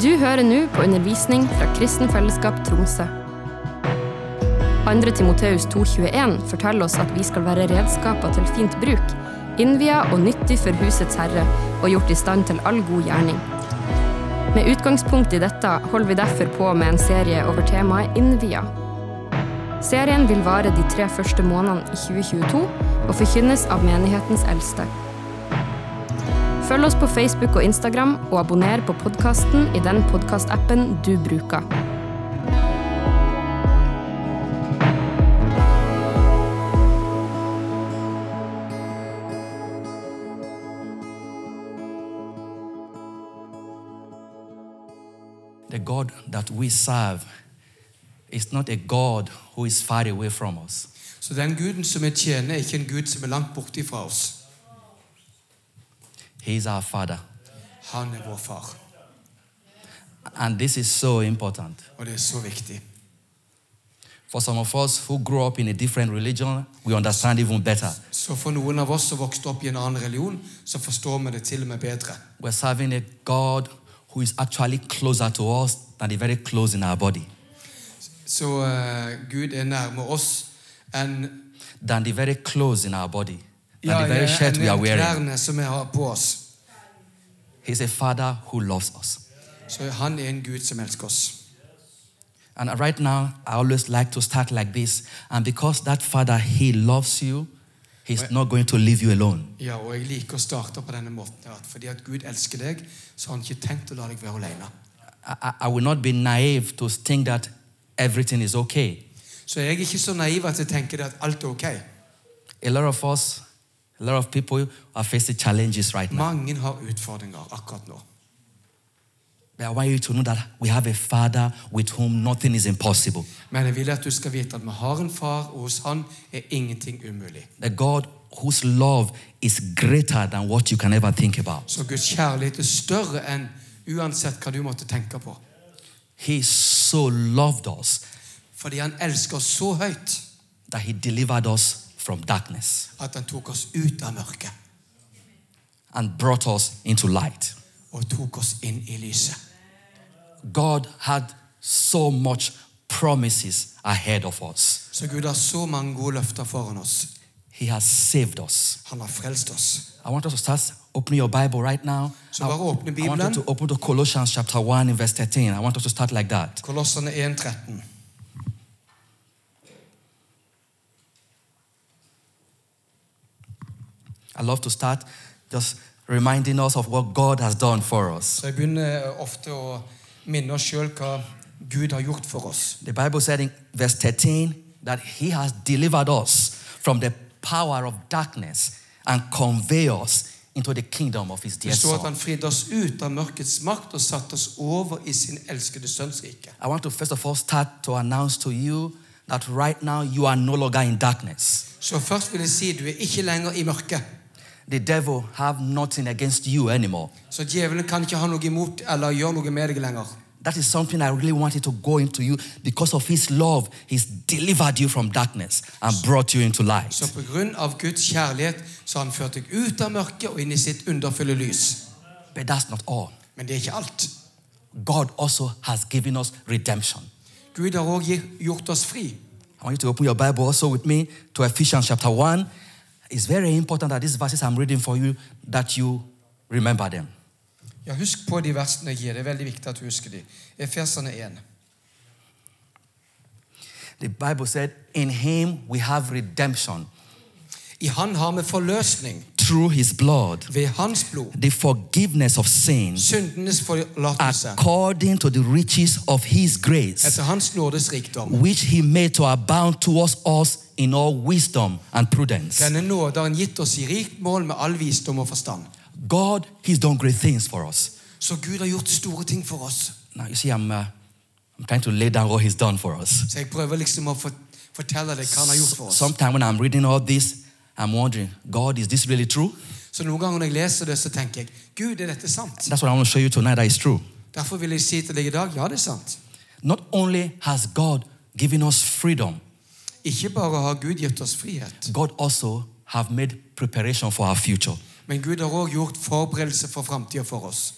Du hører nå på undervisning fra Kristen Fellesskap Tromsø. 2. Timoteus 2,21 forteller oss at vi skal være redskaper til fint bruk, innvia og nyttig for husets herre og gjort i stand til all god gjerning. Med utgangspunkt i dette holder vi derfor på med en serie over temaet innvia. Serien vil vare de tre første månedene i 2022 og forkynnes av menighetens eldste. Følg oss på Facebook og Instagram, og abonner på podkasten i den podkastappen du bruker. The God that we serve is not a God who is far away from us. Så den Guden som vi tjener, er ikke en Gud som er langt borte fra oss. He is our Father. Han er vår far. And this is so important. Og det er så viktig. For some of us who grew up in a different religion, we understand even better. Så for noen av oss som vokste opp i en annen religion, så forstår vi det til og med bedre. We're serving a God who is actually closer to us than the very clothes in our body, Så eh, Gud er nærme oss enn than the very clothes in our body, than ja, the very shirt enn we are enn wearing. klærne som vi har på oss. He's a Father who loves us. Så han er en Gud som elsker oss. And right now, I always like to start like this. And because that Father, He loves you, He's not going to leave you alone. Ja, og jeg liker å starte på denne måten. her, At fordi at Gud elsker deg, så har han ikke tenkt å la deg være alene. I, I- I will not be naive to think that everything is okay. Så jeg er ikke så naiv at jeg tenker det at alt er ok. A lot of us, a lot of people are facing challenges right now. Mange har utfordringer akkurat nå. But I want you to know that we have a Father with whom nothing is impossible. Men jeg vil at du skal vite at vi har en far, og hos han er ingenting umulig. The God whose love is greater than what you can ever think about. Så Guds kjærlighet er større enn uansett hva du måtte tenke på. He so loved us Fordi han elsker oss så høyt that He delivered us from darkness at han tok oss ut av mørket and brought us into light. og tok oss inn i lyset. God had so much promises ahead of us. Så Gud har så mange gode løfter foran oss. He has saved us. Han har frelst oss. I want us to start opening your Bible right now. Så bare åpne I want Bibelen. you to open to Colossians chapter 1 and verse 13. I want us to start like that. Kolossene 1,13. I love to start just reminding us of what God has done for us. Så jeg begynner ofte å minne oss sjøl hva Gud har gjort for oss. The Bible said in verse 13 that He has delivered us from the power of darkness and convey us into the kingdom of His Det dear står at Son. han fridde oss ut av mørkets makt og satte oss over i sin elskede sønns rike. I want to first of all start to announce to you that right now you are no longer in darkness. Så først vil jeg si du er ikke lenger i mørket. The devil have nothing against you anymore. Så djevelen kan ikke ha noe imot eller gjøre noe med deg lenger. That is something I really wanted to go into you because of His love. He's delivered you from darkness and brought you into light. Så på grunn av Guds kjærlighet så har han ført deg ut av mørket og inn i sitt underfulle lys. But that's not all. Men det er ikke alt. God also has given us redemption. Gud har òg gjort oss fri. I want you to open your Bible also with me to Ephesians chapter 1. It's very important that these verses I'm reading for you that you remember them. Ja, Husk på de versene jeg gir. Det er veldig viktig at du husker de. Efeserne 1. The Bible said, "In him we have redemption I Han har vi forløsning through his blood, ved Hans blod, the forgiveness of sins syndenes forlatelse, according to the riches of his grace." etter Hans nådes rikdom. which he made to abound towards us in all wisdom and prudence. Denne nåde har han gitt oss i rikt mål med all visdom og forstand. God, he's done great things for us. Så Gud har gjort store ting for oss. Now, you see, I'm, uh, I'm trying to lay down what he's done for us. Så jeg prøver liksom å fort- fortelle deg hva han har gjort for oss. Sometimes when I'm reading all this, I'm wondering, God, is this really true? Så noen ganger når jeg leser det, så tenker jeg Gud, er dette sant? That's what I want to show you tonight that is true. Derfor vil jeg si til deg i dag ja, det er sant. Not only has God given us freedom, Ikke bare har Gud gitt oss frihet, God also have made preparation for our future. men Gud har òg gjort forberedelse for framtida for oss.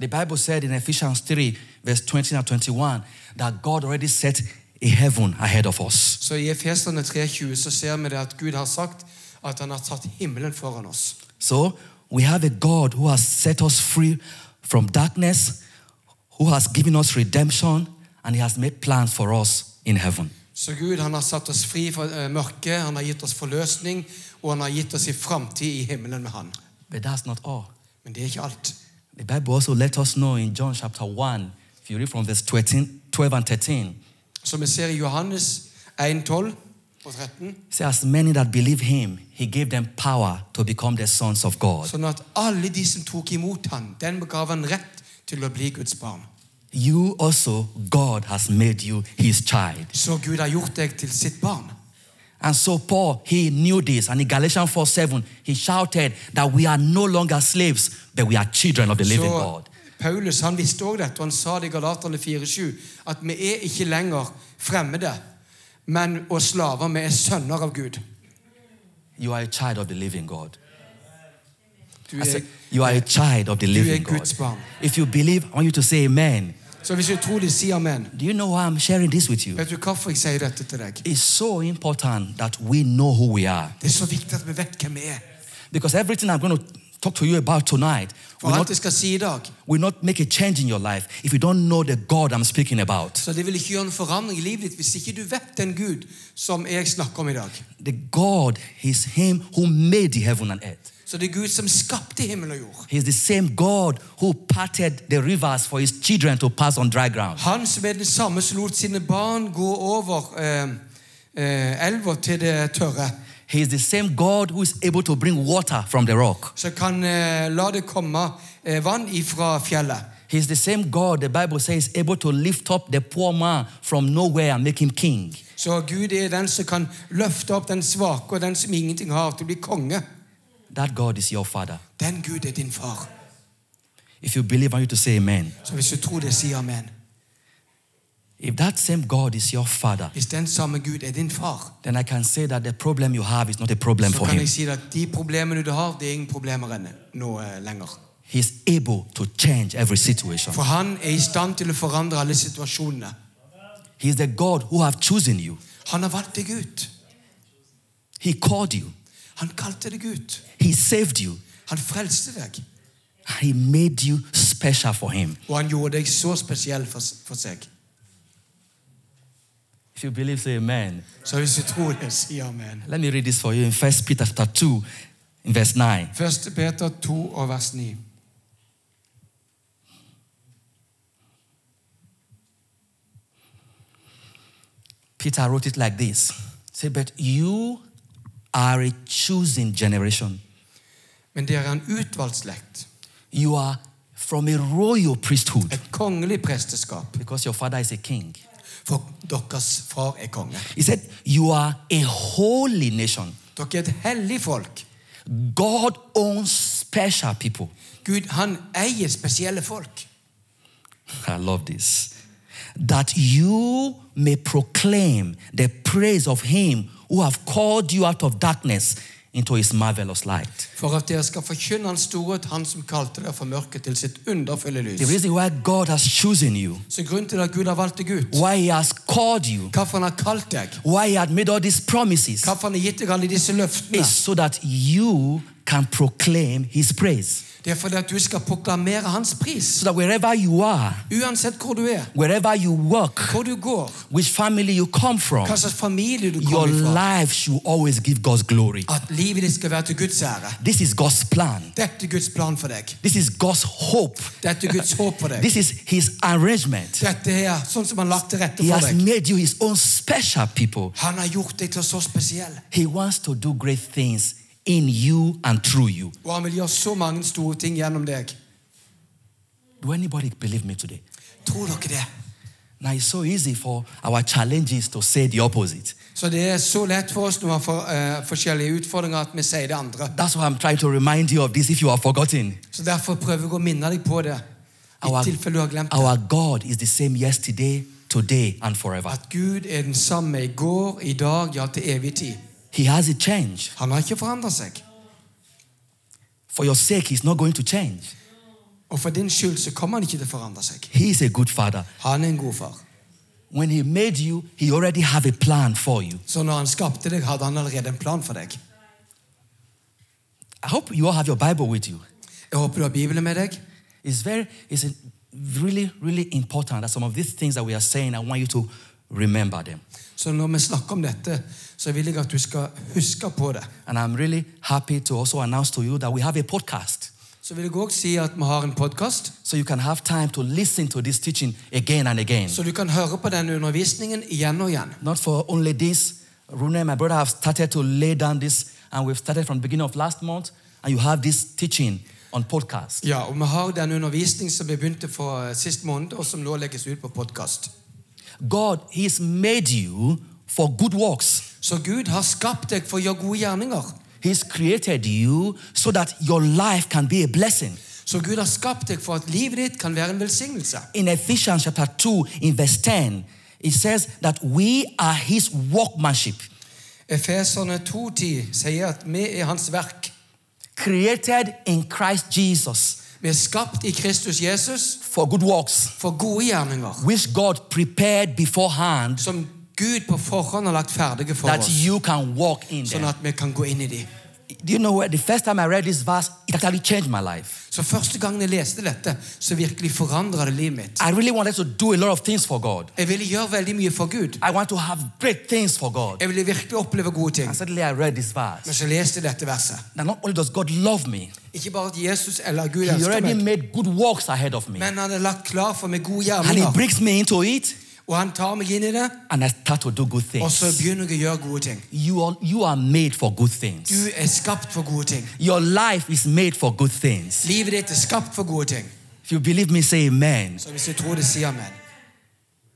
The Bible said in Ephesians 3, verse 20 and 21, that God already set a heaven ahead of us. Så i Efeserne 3,20 så ser vi det at Gud har sagt at han har tatt himmelen foran oss. So we have a God who has set us free from darkness, who has given us redemption, and He has made plans for us in heaven. Så Gud han har satt oss fri fra eh, mørket, han har gitt oss forløsning, og han har gitt oss en framtid i himmelen med han. But that's not all. Men det er ikke alt. The Bible also let us know in John chapter 1, if you read from verse 13, 12 and 13, Som vi ser i Johannes 1, 12 og 13, it says, As many that believe Him, He gave them power to become the sons of God. sånn at alle de som tok imot han, den gav han rett til å bli Guds barn. you also, God has made you His child. Så Gud har gjort deg til sitt barn. And so Paul, he knew this. And in Galatians 4 7, he shouted that we are no longer slaves, but we are children of the living Så God. Paulus han visste også dette, og han sa det i Galaterne 4,7 at vi er ikke lenger fremmede, men og slaver. Vi er sønner av Gud. You are a child of the living God. Du I er, said, you are a child of the You are living Altså, God. God's barn. If you believe, I want you to say amen. så hvis du tror det, si amen. Do you know why I'm sharing this with you? Vet du hvorfor jeg sier dette til deg? It's so important that we know who we are. Det er så viktig at vi vet hvem vi er. Because everything I'm going to talk to you about tonight will For alt not, jeg skal si i dag. will not make a change in your life if you don't know the God I'm speaking about. Så det vil ikke gjøre en forandring i livet ditt hvis ikke du vet den Gud som jeg snakker om i dag. The God is Him who made the heaven and earth. Så det er Gud som skapte himmel og jord. He's the same God who parted the rivers for His children to pass on dry ground. Han som er den samme som lot sine barn gå over eh, eh, elva til det tørre. He is the same God who is able to bring water from the rock. Så kan eh, la det komme eh, vann ifra fjellet. He is the same God, the Bible says, able to lift up the poor man from nowhere and make him king. Så Gud er den som kan løfte opp den svake og den som ingenting har, til å bli konge. That God is your Father. Den Gud er din far. If you believe, I want you to say amen. Så hvis du tror det, si amen. If that same God is your Father, Hvis den samme Gud er din far, then I can say that the problem you have is not a problem så for kan Him. jeg si deg at de problemene du har, det er ingen problemer enn nå eh, lenger. He's able to change every situation. For han er i stand til å forandre alle situasjonene. He's the God who have chosen you. Han har valgt deg ut. He called you. Han kalte deg ut. He saved you. Han frelste deg. He made you special for Him. Og han gjorde deg så spesiell for, for seg. If you believe, say amen. Så hvis du tror det, si amen. Let me read this for you in 1 Peter chapter 2, in verse 9. 1. Peter 2 og vers 9. Peter wrote it like this. Say, but you are a chosen generation. Men dere er en utvalgt slekt, You are from a royal priesthood. et kongelig presteskap, Because your father is a king. for deres far er konge. He said, You are a holy nation. Dere er et hellig folk. God owns special people. Gud, han eier spesielle folk. I love this. That you may proclaim the praise of him who have called you out of darkness into his marvelous light. For at dere skal forkynne hans storhet, han som kalte dere for mørket til sitt underfulle The lys. reason why God has chosen you, Så grunnen til at Gud har valgt deg ut, why he has called you, hvorfor han har kalt deg, why he had made all these promises hvorfor han har gitt deg alle disse løftene, is so that you can proclaim his praise. det er fordi at du skal proklamere hans pris. So that wherever you are, Uansett hvor du er, wherever you work, hvor du går, which family you come from, hva slags familie du your kommer fra, life should always give God's glory. at livet ditt skal være til Guds ære. This is God's plan. Dette er Guds plan for deg. This is God's hope. Dette er Guds håp for deg. This is His arrangement. Dette er sånn som han har lagt til rette He for has deg. made you His own special people. Han har gjort deg til så spesiell, He wants to do great things in you and through you. og han vil gjøre så mange store ting gjennom deg. Do anybody believe me today? Tror dere det? Now it's so easy for our challenges to say the opposite. Så det er så lett for oss når vi får eh, forskjellige utfordringer, at vi sier det andre. That's why I'm trying to remind you of this if you are forgotten. Så derfor prøver jeg å minne deg på det, i Our, tilfelle du har glemt det. our God is the same yesterday, today, and forever. At Gud er den samme i går, i dag, ja, til evig tid. He hasn't changed. Han har ikke forandret seg. For your sake, He's not going to change. Og for din skyld så kommer han ikke til å forandre seg. He is a good father. Han er en god far. When he made you, he already have a plan for you. Så når han skapte deg, hadde han allerede en plan for deg. I hope you all have your Bible with you. Jeg håper du har Bibelen med deg. It's very, it's really, really important that some of these things that we are saying, I want you to remember them. Så når vi snakker om dette, så vil jeg at du skal huske på det. And I'm really happy to also announce to you that we have a podcast. Så vil jeg òg si at vi har en podkast, So you can have time to listen to this teaching again and again. så du kan høre på denne undervisningen igjen og igjen. Not for only this, Rune and my brother have started to lay down this, and we've started from the beginning of last month, and you have this teaching on podcast. Ja, og vi har denne undervisningen som vi begynte for eh, sist måned, og som nå legges ut på podkast. God, He's made you for good works. Så Gud har skapt deg for å gjøre gode gjerninger. He's created you so that your life can be a blessing. Så Gud har skapt deg for at livet ditt kan være en velsignelse. In Ephesians chapter 2, in verse 10, it says that we are His workmanship, Efeserne 2,10 sier at vi er hans verk. created in Christ Jesus Vi er skapt i Kristus Jesus for good works, for gode gjerninger, which God prepared beforehand som Gud på forhånd har lagt ferdige for that oss, you can walk in sånn them. at vi kan gå inn i dem. Do you know where the first time I read this verse, it actually changed my life. Så første gangen jeg leste dette, så virkelig forandra det livet mitt. I really wanted to do a lot of things for God. Jeg ville gjøre veldig mye for Gud. I want to have great things for God. Jeg ville virkelig oppleve gode ting. And suddenly I read this Men verse. så leste jeg dette verset. Now, not only does God love me, Ikke bare at Jesus eller Gud He elsker already meg, made good works ahead of me. men han er lagt klar for meg gode And He gjerninger. brings me into it, Og han tar meg inn i det, and I start to do good og så things. begynner jeg å gjøre gode ting. You are, you are made for good Du things. er skapt for gode ting. Your life is made for good things. Livet ditt er skapt for gode ting. If you believe me, say amen. Så hvis du tror det, si amen.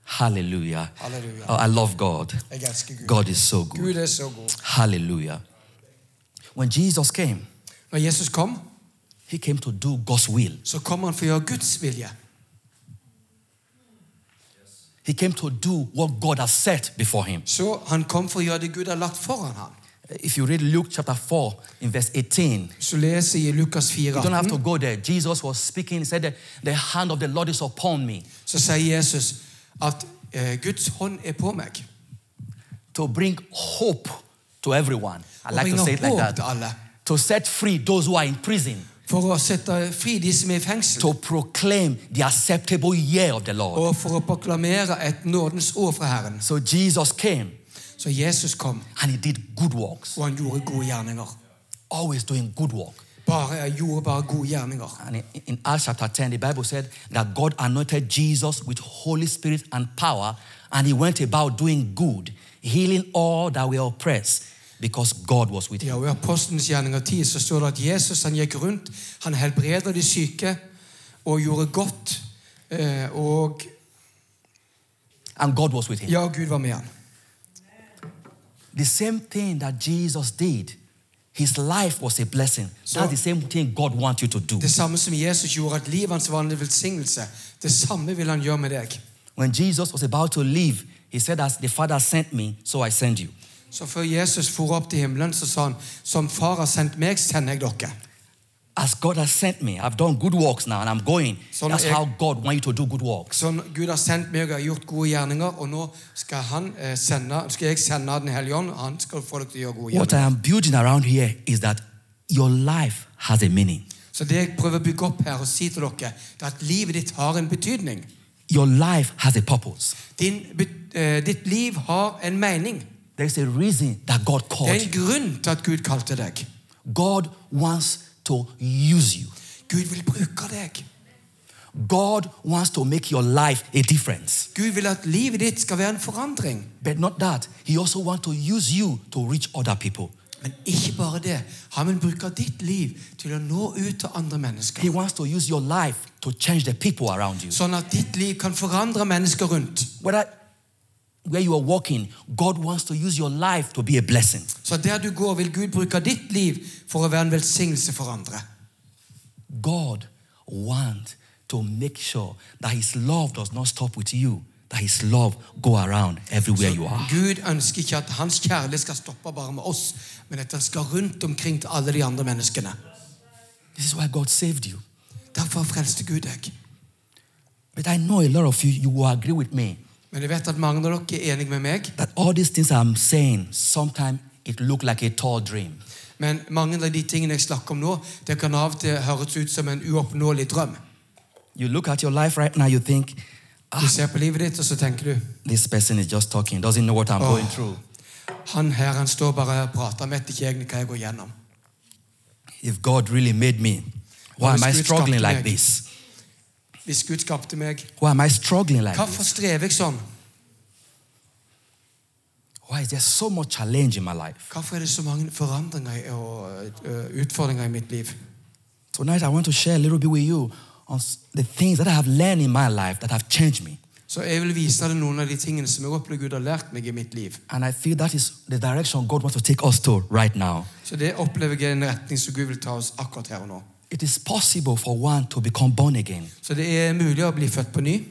Hallelujah. Hallelujah. Oh, I love God. Jeg elsker Gud. God is so good. Gud er så god. Hallelujah. When Jesus came, Når Jesus kom, he came to do God's will. så kom han for å gjøre Guds vilje. He came to do what God has set before him. Så han kom for å gjøre det Gud har lagt foran ham. If you read Luke chapter 4 in verse 18, Så leser jeg i Lukas you 4, don't have to go there. Jesus was speaking. He said that the hand of the Lord is upon me så sier Jesus at eh, Guds hånd er på meg. to bring hope to everyone. I Og like to say bringer it like håp til that. alle. To set free those who are in prison, For å sette fri de som er i fengsel, to proclaim the acceptable year of the Lord. og for å proklamere et nådens år fra Herren. So Jesus came Så Jesus kom, and he did good works, og han gjorde gode gjerninger. always doing good work. Bare, gjorde bare gode gjerninger. And in- in Acts chapter 10, the Bible said that God anointed Jesus with Holy Spirit and power, and he went about doing good, healing all that were oppressed, because God was with him. Ja, og I Apostelens gjerninger 10 så står det at Jesus han gikk rundt, han helbreder de syke og gjorde godt. Eh, og And God was with him. ja, Gud var med han. The same thing that Jesus did, his life was a blessing. So- That's the same thing God wants you to do. Det samme som Jesus gjorde, at livet hans var en velsignelse. Det samme vil han gjøre med deg. When Jesus was about to leave, he said, As the Father sent me, so I send you. Så før Jesus for opp til himmelen, så sa han Som far har sendt meg, sender jeg dere. As God has sent me, I've done good works now and I'm going. So- eh, That's how God wants you to do good works. Sånn Gud har sendt meg og jeg har gjort gode gjerninger, og nå skal, han, eh, sende, skal jeg sende Den hellige ånd. Han skal få dere til å gjøre gode What I gjerninger. am building around here is that your life has a meaning. Så det jeg prøver å bygge opp her og si til dere, det er at livet ditt har en betydning. Your life has a purpose. Din, bet- eh, ditt liv har en mening. There is a reason that God Det called er en you. grunn til at Gud kalte deg. God wants to use you. Gud vil bruke deg. God wants to make your life a difference. Gud vil at livet ditt skal være en forandring. But not that. He also wants to use you to reach other people. Men ikke bare det. Han vil bruke ditt liv til å nå ut til andre He mennesker. wants to use your life to change the people around you. Sånn at ditt liv kan forandre mennesker rundt. Whether where you are walking, God wants to use your life to be a blessing. Så der du går, vil Gud bruke ditt liv for å være en velsignelse for andre. God wants to make sure that His love does not stop with you, that His love go around everywhere you are. Gud ønsker ikke at hans kjærlighet skal stoppe bare med oss, men at den skal rundt omkring til alle de andre menneskene. This is why God saved you. Derfor Hvorfor frelste Gud deg? But I know a lot of you, you will agree with me Men jeg vet at mange av dere er enige med meg. that all these things I'm saying, sometimes it look like a tall dream. Men mange av de tingene jeg snakker om nå, det kan av og til høres ut som en uoppnåelig drøm. You look at your life right now, you think, "Ah, Du ser på livet ditt, og så tenker du this person is just talking, doesn't know what I'm Oh. going through. Han her han står bare her og prater, han vet ikke egentlig hva jeg går gjennom. If God really made me, why am I Spirit's struggling like company. this? Hvis Gud skapte meg, Why am I struggling like this? hvorfor strever jeg sånn? Why is there so much challenge in my life? Hvorfor er det så mange forandringer og ø, utfordringer i mitt liv? Tonight, I want to share a little bit with you on s- the things that I have learned in my life that have changed me. Så jeg vil vise deg noen av de tingene som jeg opplever Gud har lært meg i mitt liv. And I feel that is the direction God wants to take us to right now. Så det opplever jeg er en retning som Gud vil ta oss akkurat her og nå. It is possible for one to become born again, Så det er mulig å bli født på ny,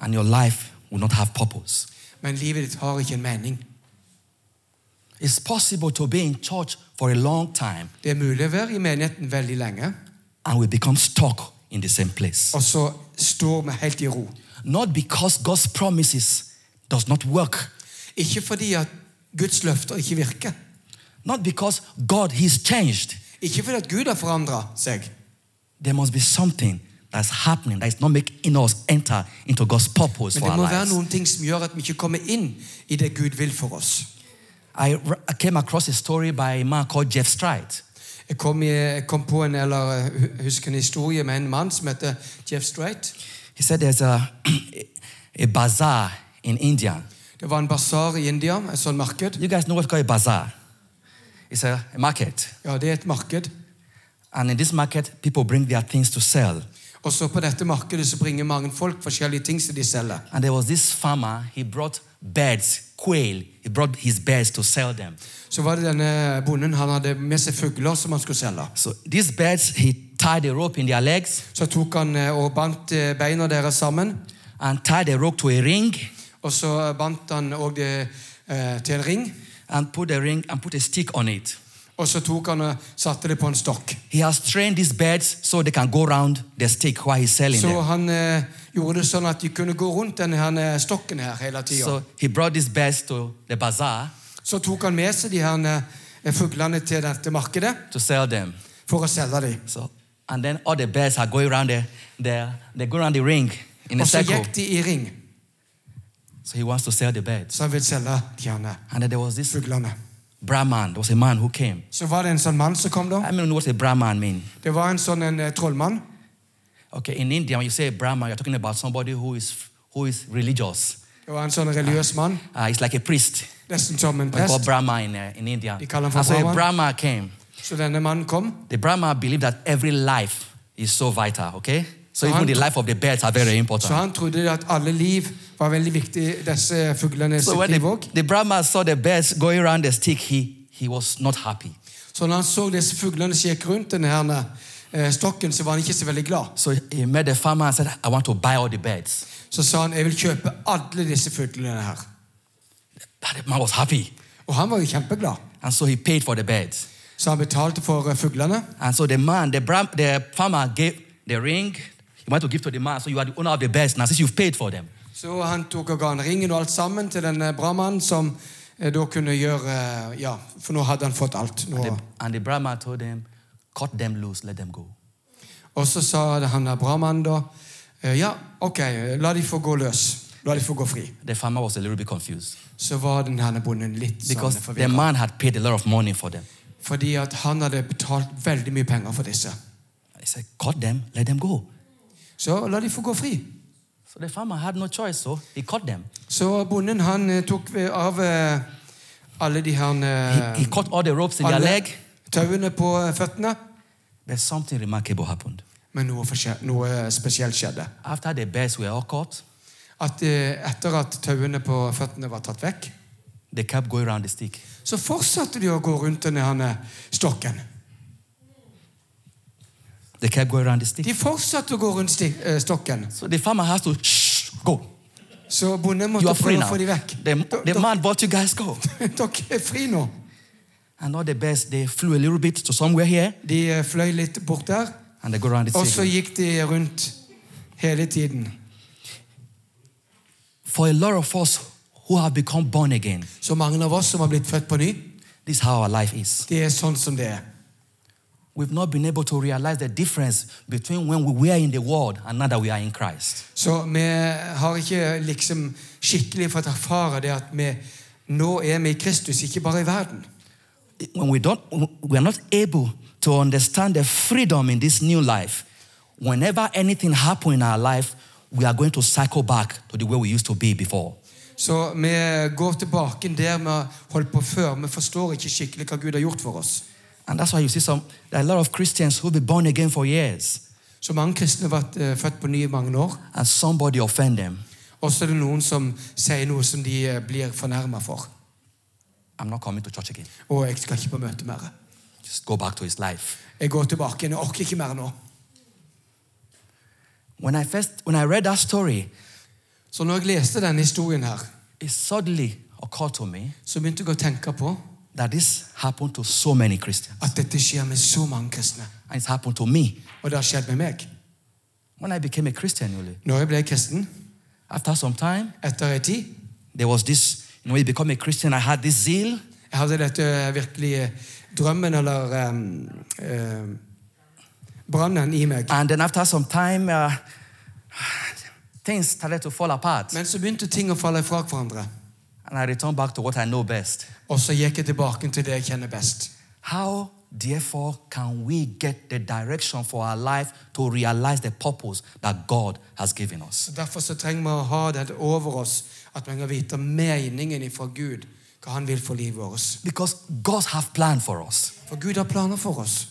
and your life will not have purpose. men livet ditt har ikke en mening. It's possible to be in church for a long time Det er mulig å være i menigheten veldig lenge, and we become stuck in the same place. og så står vi helt i ro. Not because God's promises does not work. Ikke fordi at Guds løfter ikke virker. Not because God He's changed. Ikke fordi at Gud har forandra seg. There must be something that's happening that is not making us enter into God's purpose Men for det our må være lives. noen ting som gjør at vi ikke kommer inn i det Gud vil for oss. I, r- I came across a story by a man called Jeff Stride. Jeg kom, i, jeg kom på en, eller eh, hu- husker en historie med en mann som heter Jeff Strait. He said there's a, a bazaar in India. Det var en basar i India, et sånt marked. You guys know what's called a bazaar? It's a, a market. Ja, det er et marked. And in this market, people bring their things to sell. Og så på dette markedet så bringer mange folk forskjellige ting som de selger. And there was this farmer, he brought birds, quail. He brought his birds to sell them. Så var det denne bonden, han hadde med seg fugler som han skulle selge. So these birds, he tied a rope in their legs Så tok han eh, og bandt eh, beina deres sammen, and tied a rope to a ring og så eh, bandt han òg det eh, til en ring. and put a ring and put a stick on it. Og så tok han og satte det på en stokk. He has trained these birds so they can go round the stick while he's selling Så them. han eh, gjorde det sånn at de kunne gå rundt denne her, eh, stokken her hele tida. So he brought these birds to the bazaar Så tok han med seg de her eh, fuglene til dette markedet to sell them. for å selge dem. So and then all the birds are going around the, the they go around the ring in a Og så circle. gikk de i ring, So he wants to sell the birds. så han ville selge de her eh, And then there was this fuglene. Brahman. There was a man who came. Så var det en sånn mann som kom, da. I mean, what a Brahman mean? Det var en sånn en eh, trollmann. Okay, in India, when you say Brahman, you're talking about somebody who is who is religious. Det var en sånn religiøs mann, Uh, it's like a priest. nesten som en They call prest. Brahma in, uh, in India. You call him and so a Brahman? Brahma came. Så denne mannen kom. The Brahma believed that every life is so vital, okay? So even the life of the birds are very Så important. han trodde at alle liv var veldig viktig, disse fuglene So sitt when liv the, òg. the Brahma saw the birds going around the stick, he, he was not happy. Så når han så disse fuglene som gikk rundt denne her, eh, stokken, så var han ikke så veldig glad. So he met the farmer and said, I want to buy all the birds. Så sa han 'jeg vil kjøpe alle disse fuglene her'. That man was happy. Og han var jo kjempeglad. And so he paid for the birds. Så han betalte for eh, fuglene. And so the man, the, Brahm, the farmer gave the ring. He wanted to give to the man. So you are the owner of the birds now since you've paid for them. Så han tok og ga han ringen og alt sammen til den eh, brannmannen som eh, da kunne gjøre eh, Ja, for nå hadde han fått alt. Nå. The- and the Brahma told them, cut them loose, let them go. Og så sa han der brannmannen da eh, Ja, OK, la de få gå løs. La de få gå fri. The farmer was a little bit confused Så var den her bonden litt sånn because the forvirra. man had paid a lot of money for them. Fordi at han hadde betalt veldig mye penger for disse. He said, cut them, let them go. Så la de få gå fri. So the farmer had no choice, so he cut them. Så bonden han eh, tok eh, av eh, alle de her eh, He cut all Um, the ropes in their alle leg. tauene på eh, føttene. But something remarkable happened. Men noe, forskje- noe eh, spesielt skjedde. After the birds were all cut, At eh, etter at tauene på føttene var tatt vekk, they kept going around the stick. så fortsatte de å gå rundt denne her stokken. They kept going around the stick. De fortsatte å gå rundt sti eh, stokken. So the farmer has to, shh, go. Så bonden You måtte are free prøve now. å få dem vekk. The, the Dere- man bought you guys go. Dere er fri nå. And all the birds, they flew a little bit to somewhere here. De eh, fløy litt bort der, And they go around the Og så circle. gikk de rundt hele tiden. For a lot of us who have become born again, Så mange av oss som har blitt født på ny, this is how our life is. det er sånn som det er. We've not been able to realize the difference between when we were in the world and now that we are in Christ. Så vi har ikke liksom skikkelig fått erfare det at vi nå er vi i Kristus, ikke bare i verden. When we don't, we are not able to understand the freedom in this new life. Whenever anything happens in our life, we are going to cycle back to the way we used to be before. Så vi går tilbake der vi har holdt på før. Vi forstår ikke skikkelig hva Gud har gjort for oss. And that's why you see some, there are a lot of Christians who've been born again for years, Så mange kristne har vært eh, født på ny i mange år. and somebody offend them. Og så er det noen som sier noe som de eh, blir fornærma for. I'm not coming to church again. Og jeg skal ikke på møte mer. Just go back to his life. Jeg går tilbake igjen. Jeg orker ikke mer nå. When I first, when I read that story, Så når jeg leste denne historien her, it suddenly occurred to me så begynte jeg å tenke på that this happened to so many Christians, at dette skjer med så mange kristne. and it's happened to me Og det har skjedd med meg. when I became a Christian. Really. Når jeg ble kristen, After some time, etter ei tid there was this. You know, when you become a Christian, I had this zeal. Jeg hadde dette virkelig eh, drømmen eller eh, eh, brannen i meg. And then after some time, uh, things started to fall apart. Men så begynte ting å falle fra hverandre. And I returned back to what I know best. Og så gikk jeg tilbake til det jeg kjenner best. How, therefore, can we get the direction for our life to realize the purpose that God has given us? Så Derfor så trenger vi å ha det over oss, at vi kan vite meningen ifra Gud, hva han vil for livet vårt. Because God has planned for us. For Gud har planer for oss.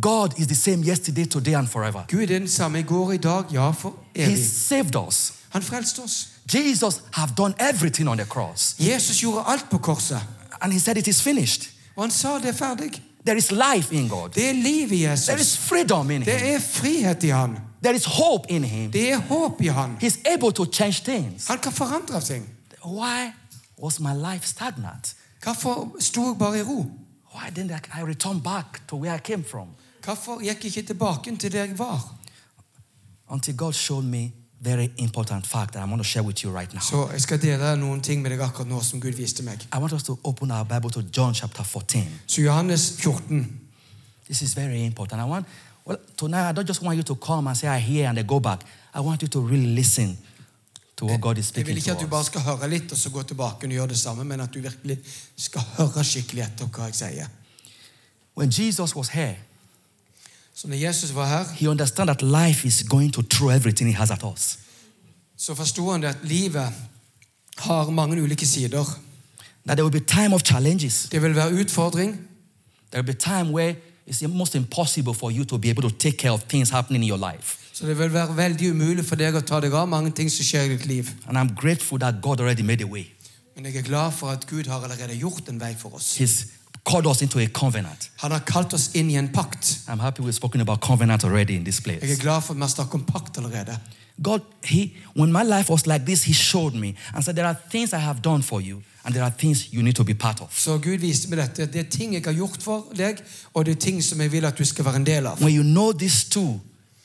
God is the same yesterday, today, and forever. Gud er den samme i går, i dag, ja, for He evig. saved us. Han frelste oss. Jesus have done everything on the cross. Jesus gjorde alt på korset. And he said it is finished. Og han sa det er ferdig. There is life in God. Det er liv i There is Jesus. freedom in Det him. er frihet i han. There is hope in him. Det er håp i han. He's able to change things. Han kan forandre ting. Why was my life stagnant? Hvorfor sto jeg bare i ro? Why didn't I- I return back to where I came from? Hvorfor gikk jeg ikke tilbake til der jeg var? until God showed me very important fact that I'm going to share with you right now. Så jeg skal dele noen ting med deg akkurat nå som Gud viste meg. I want us to open our Bible to John chapter 14. Så Johannes 14. This is very important. I want well tonight I don't just want you to come and say I hear and then go back. I want you to really listen to what God is Jeg speaking vil ikke at du to bare us. skal høre litt og så gå tilbake og gjøre det samme, men at du virkelig skal høre skikkelig etter hva jeg sier. When Jesus was here, Så når Jesus var her, he understood that life is going to throw everything he has at us. så forsto han det at livet har mange ulike sider. That there will be time of challenges. Det vil være utfordring. There will be time where it's almost impossible for you to be able to take care of things happening in your life. Så det vil være veldig umulig for deg å ta deg av mange ting som skjer i ditt liv. And I'm grateful that God already made a way. Men jeg er glad for at Gud har allerede gjort en vei for oss. He's called us into a covenant. Han har kalt oss inn i en pakt. I'm happy we've spoken about covenant already in this Jeg er place. glad for at vi har snakket om pakt allerede. God, He, when my life was like this, He showed me and said, There are things I have done for you, and there are things you need to be part of. Så Gud viste meg dette. Det er ting jeg har gjort for deg, og det er ting som jeg vil at du skal være en del av. When you know these two,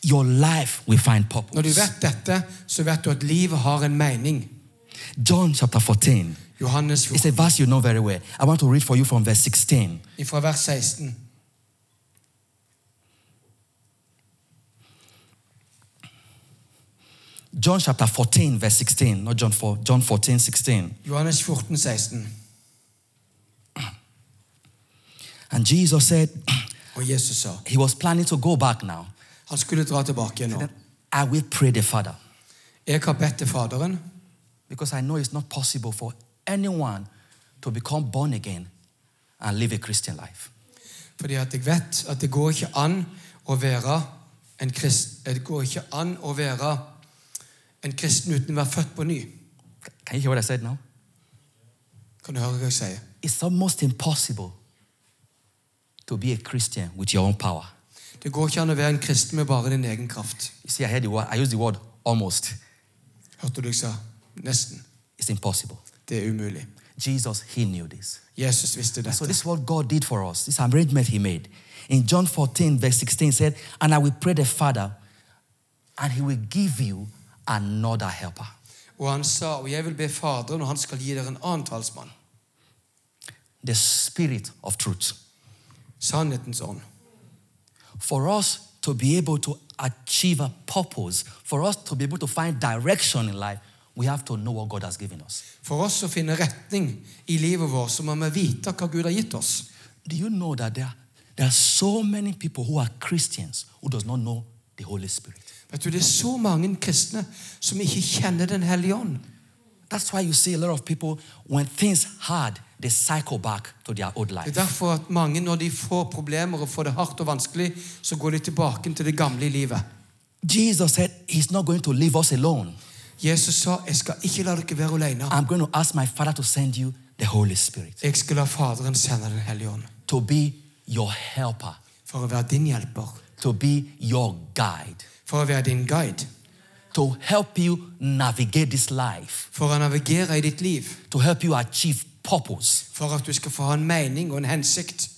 your life will find Når du purpose. vet dette, så vet du at livet har en mening. John chapter 14, Johannes it's a 14, verse you know very well. I want to read for you from verse 16. fra vers 16. John chapter 14, verse 16, not John 4, John 14, 16. Johannes 14, 16. And Jesus said, Og Jesus sa He was planning to go back now. Han skulle dra tilbake igjen nå. I will pray the Father. Jeg har bedt til Faderen, Because I know it's not possible for anyone to become born again and live a Christian life. fordi at jeg vet at det går ikke an å være en krist, det går ikke an å være en kristen uten å være født på ny. C- Can you hear what I said now? Kan du høre hva jeg sier? It's almost impossible to be a Christian with your own power. Det går ikke an å være en kristen med bare din egen kraft. You see, I heard the word, I used the word almost. Hørte du jeg sa? Nesten. It's impossible. Det er umulig. Jesus, he knew this. Jesus visste So dette. this is what God did for us, this arrangement he made. In John 14, verse 16 said, And I will pray the Father, and he will give you another helper. Og han sa, og jeg vil be Faderen, og han skal gi dere en annen talsmann. The spirit of truth. Sannhetens ånd. For us to be able to achieve a purpose, for us to be able to find direction in life, we have to know what God has given us. For oss å finne retning i livet vårt, så må vi vite hva Gud har gitt oss. Do you know that there, there are so many people who are Christians who does not know the Holy Spirit? Vet du, Det er så mange kristne som ikke kjenner Den hellige ånd. That's why you see a lot of people, when things hard, they cycle back to their old Det life. er derfor at mange, når de får problemer og får det hardt og vanskelig, så går de tilbake til det gamle i livet. Jesus said, He's not going to leave us alone. Jesus sa, 'Jeg skal ikke la dere være alene. I'm going to ask my Father to send you the Holy Spirit Jeg skal la Faderen sende Den hellige ånd to be your helper, for å være din hjelper, to be your guide, for å være din guide, to help you navigate this life, for å navigere i ditt liv, to help you achieve purpose, for at du skal få ha en mening og en hensikt,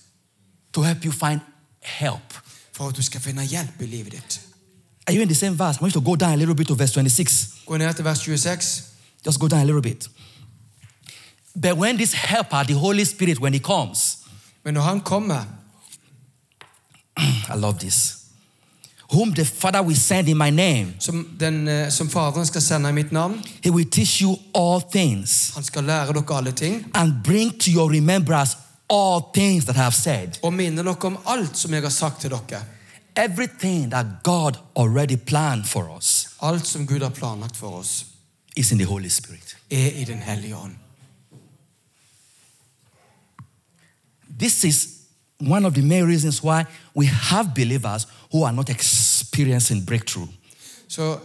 to help you find help. for at du skal finne hjelp i livet ditt. Are you in the same verse? I want you to go down a little bit to verse 26. Gå ned til vers 26. Just go down a little bit. But when this helper, the Holy Spirit, when he comes, Men når han kommer, I love this. Whom the Father will send in my name, som, den, eh, som Faderen skal sende i mitt navn, he will teach you all things han skal lære dere alle ting, and bring to your remembrance all things that I have said. og minne dere om alt som jeg har sagt til dere. Everything that God already planned for us Alt som Gud har planlagt for oss, is in the Holy Spirit. er i Den hellige ånd. This is one of the main reasons why we have believers who are not experiencing breakthrough. Så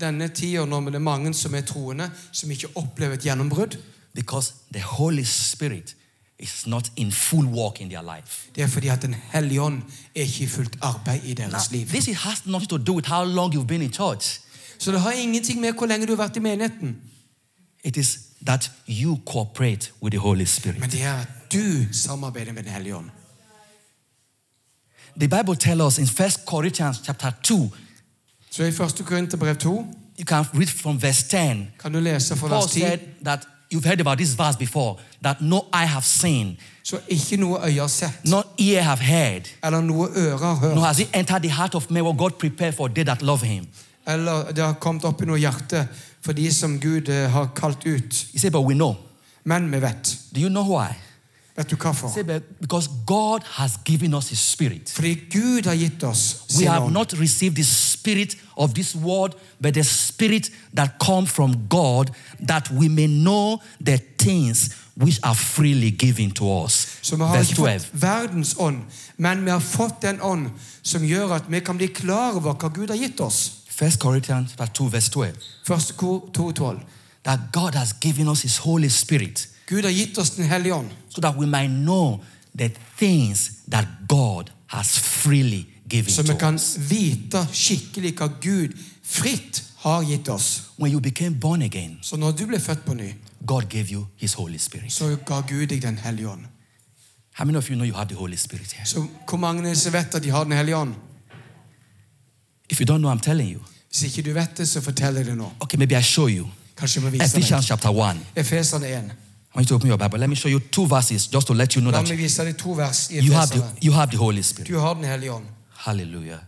denne tida nå med det er mange som er troende, som ikke opplever et gjennombrudd, Because the Holy Spirit is not in full work in their life. det er fordi at Den hellige ånd er ikke i fullt arbeid i deres liv. This has nothing to do with how long you've been in church. Så det har ingenting med hvor lenge du har vært i menigheten, It is that you cooperate with the Holy Spirit. men det er at du samarbeider med Den hellige ånd. The Bible tells us in 1 Corinthians chapter 2, Så i 1. Korinterbrev 2 you can read from verse 10. kan du lese fra Paul vers 10 said that you've heard about this verse before, that no eye have seen, Så ikke noe øye har sett, no ear have heard, eller noe øre nor har hørt, has it entered the heart of man what God prepared for they that love him. eller det har kommet opp i noe hjerte for de som Gud eh, har kalt ut. He said, but we know. Men vi vet. Do you know why? Vet du He hvorfor? said, "But because God has given us his spirit. Fordi Gud har gitt oss We sin have ånd. not received the spirit of this world, but the spirit that comes from God, that we may know the things which are freely given to us. Så vi har Verse ikke fått 12. verdens ånd, men vi har fått den ånd som gjør at vi kan bli klar over hva Gud har gitt oss. 1 Corinthians chapter 2, verse 12. Første kor 2.12. That God has given us his Holy Spirit Gud har gitt oss Den hellige ånd, so that we might know the things that God has freely given så vi to kan us. vite skikkelig hva Gud fritt har gitt oss. When you became born again, Så når du ble født på ny, God gave you his Holy Spirit. så ga Gud deg Den hellige ånd. How many of you know you have the Holy Spirit here? Så hvor mange er det som vet at de har Den hellige ånd? If you don't know, I'm telling you. Hvis ikke du vet det, så forteller jeg det nå. Okay, maybe I show you. Kanskje vi viser deg. Ephesians chapter 1. Efeserne 1. I want you to open your Bible. Let me show you two verses just to let you know La that meg vise deg to vers i you have the, Efeserne. you have the Holy Du Spirit. har Den hellige ånd. Hallelujah.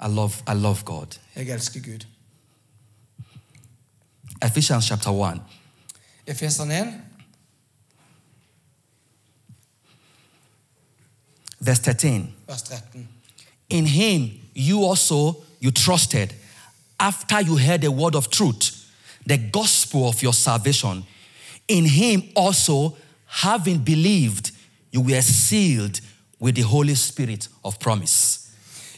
I love, I love God. Jeg elsker Gud. Ephesians chapter 1. Efeserne 1, Verse 13. vers 13. In him you also you trusted after you heard the word of truth, the gospel of your salvation. In him also, having believed, you were sealed with the Holy Spirit of promise.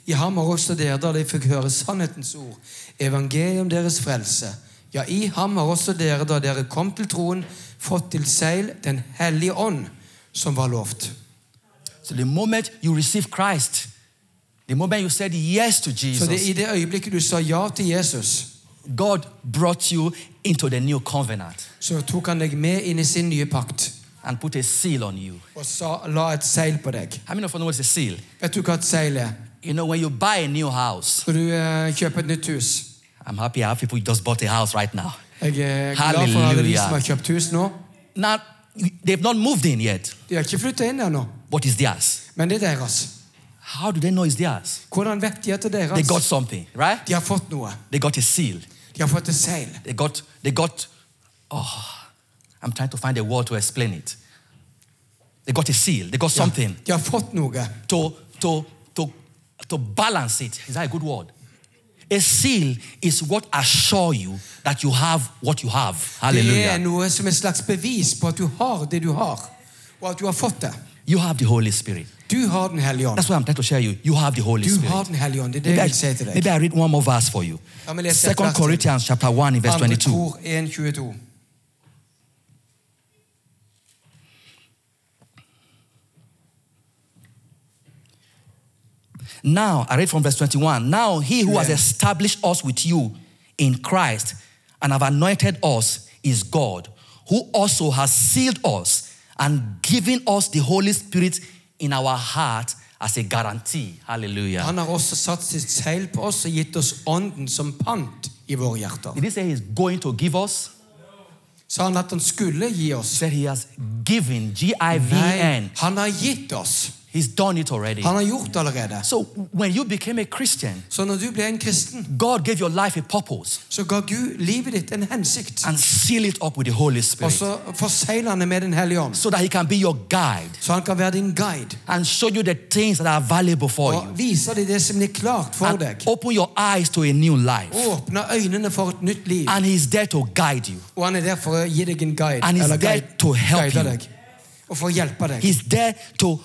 I ham har også dere, da de fikk høre sannhetens ord, evangeliet om deres frelse. Ja, i ham har også dere, da dere kom til troen, fått til seil Den hellige ånd, som var lovt. So the moment you receive Christ, the moment you said yes to Så Jesus, det er i det øyeblikket du sa ja til Jesus, God brought you into the new covenant så tok han deg med inn i sin nye pakt and put a seal on you. og sa, la et seil på deg. How many of you know what's a seal? Vet du hva et seil er? You know, when you buy a new house, Når du eh, kjøper et nytt hus. I'm happy I have people who just bought a house right now. Jeg eh, er glad for alle de Halleluja. som har kjøpt hus nå. Now, they've not moved in yet. De har ikke flyttet inn ennå, What is theirs? men det er deres. How do they know it's theirs? Hvordan vet de at det er They got deres? something, right? De har fått noe. They got a seal. De har fått et seil. They got, they got, oh, I'm trying to find a word to explain it. They got a seal. They got something De har fått noe. to, to, to, to balance it. Is that a good word? A seal is what assure you that you have what you have. Det er Hallelujah. noe som et slags bevis på at du har det du har, og at du har fått det. You have the Holy Spirit. Du har Den hellige ånd. That's what I'm trying to share you. You have the Holy Du Spirit. har Den hellige ånd. Det er det Maybe I, jeg vil si til deg. maybe I read one more verse for you. Ja, men les et Second vers til. Corinthians chapter 1 in verse Andre 22. kor 1,22. Now, I read from verse 21. Now he who has Yeah. established us with you in Christ and have anointed us is God, who also has sealed us and given us the Holy Spirit in our heart as a guarantee. Hallelujah. Han har også satt sitt seil på oss og gitt oss ånden som pant i våre hjerter. Did he say he's going to give us? Sa han at han skulle gi He oss? said he has given, G I V Nei, N. han har gitt oss. He's done it already. Han har gjort det allerede. So when you became a Christian, Så når du ble en kristen, God gave your life a purpose så ga Gud livet ditt en hensikt. and seal it up with the Holy Og Spirit så forsegler han det med Den hellige ånd, so that He can be your guide så han kan være din guide. and show you the things that are valuable for Og you. viser deg det som er klart for Oh. And deg. open your eyes to a new life. Åpner øynene for et nytt liv. And He's there to guide you. Og han er der for å gi deg en guide. And he's Eller there guide, to help guide you. deg. Og for å hjelpe deg. He's there to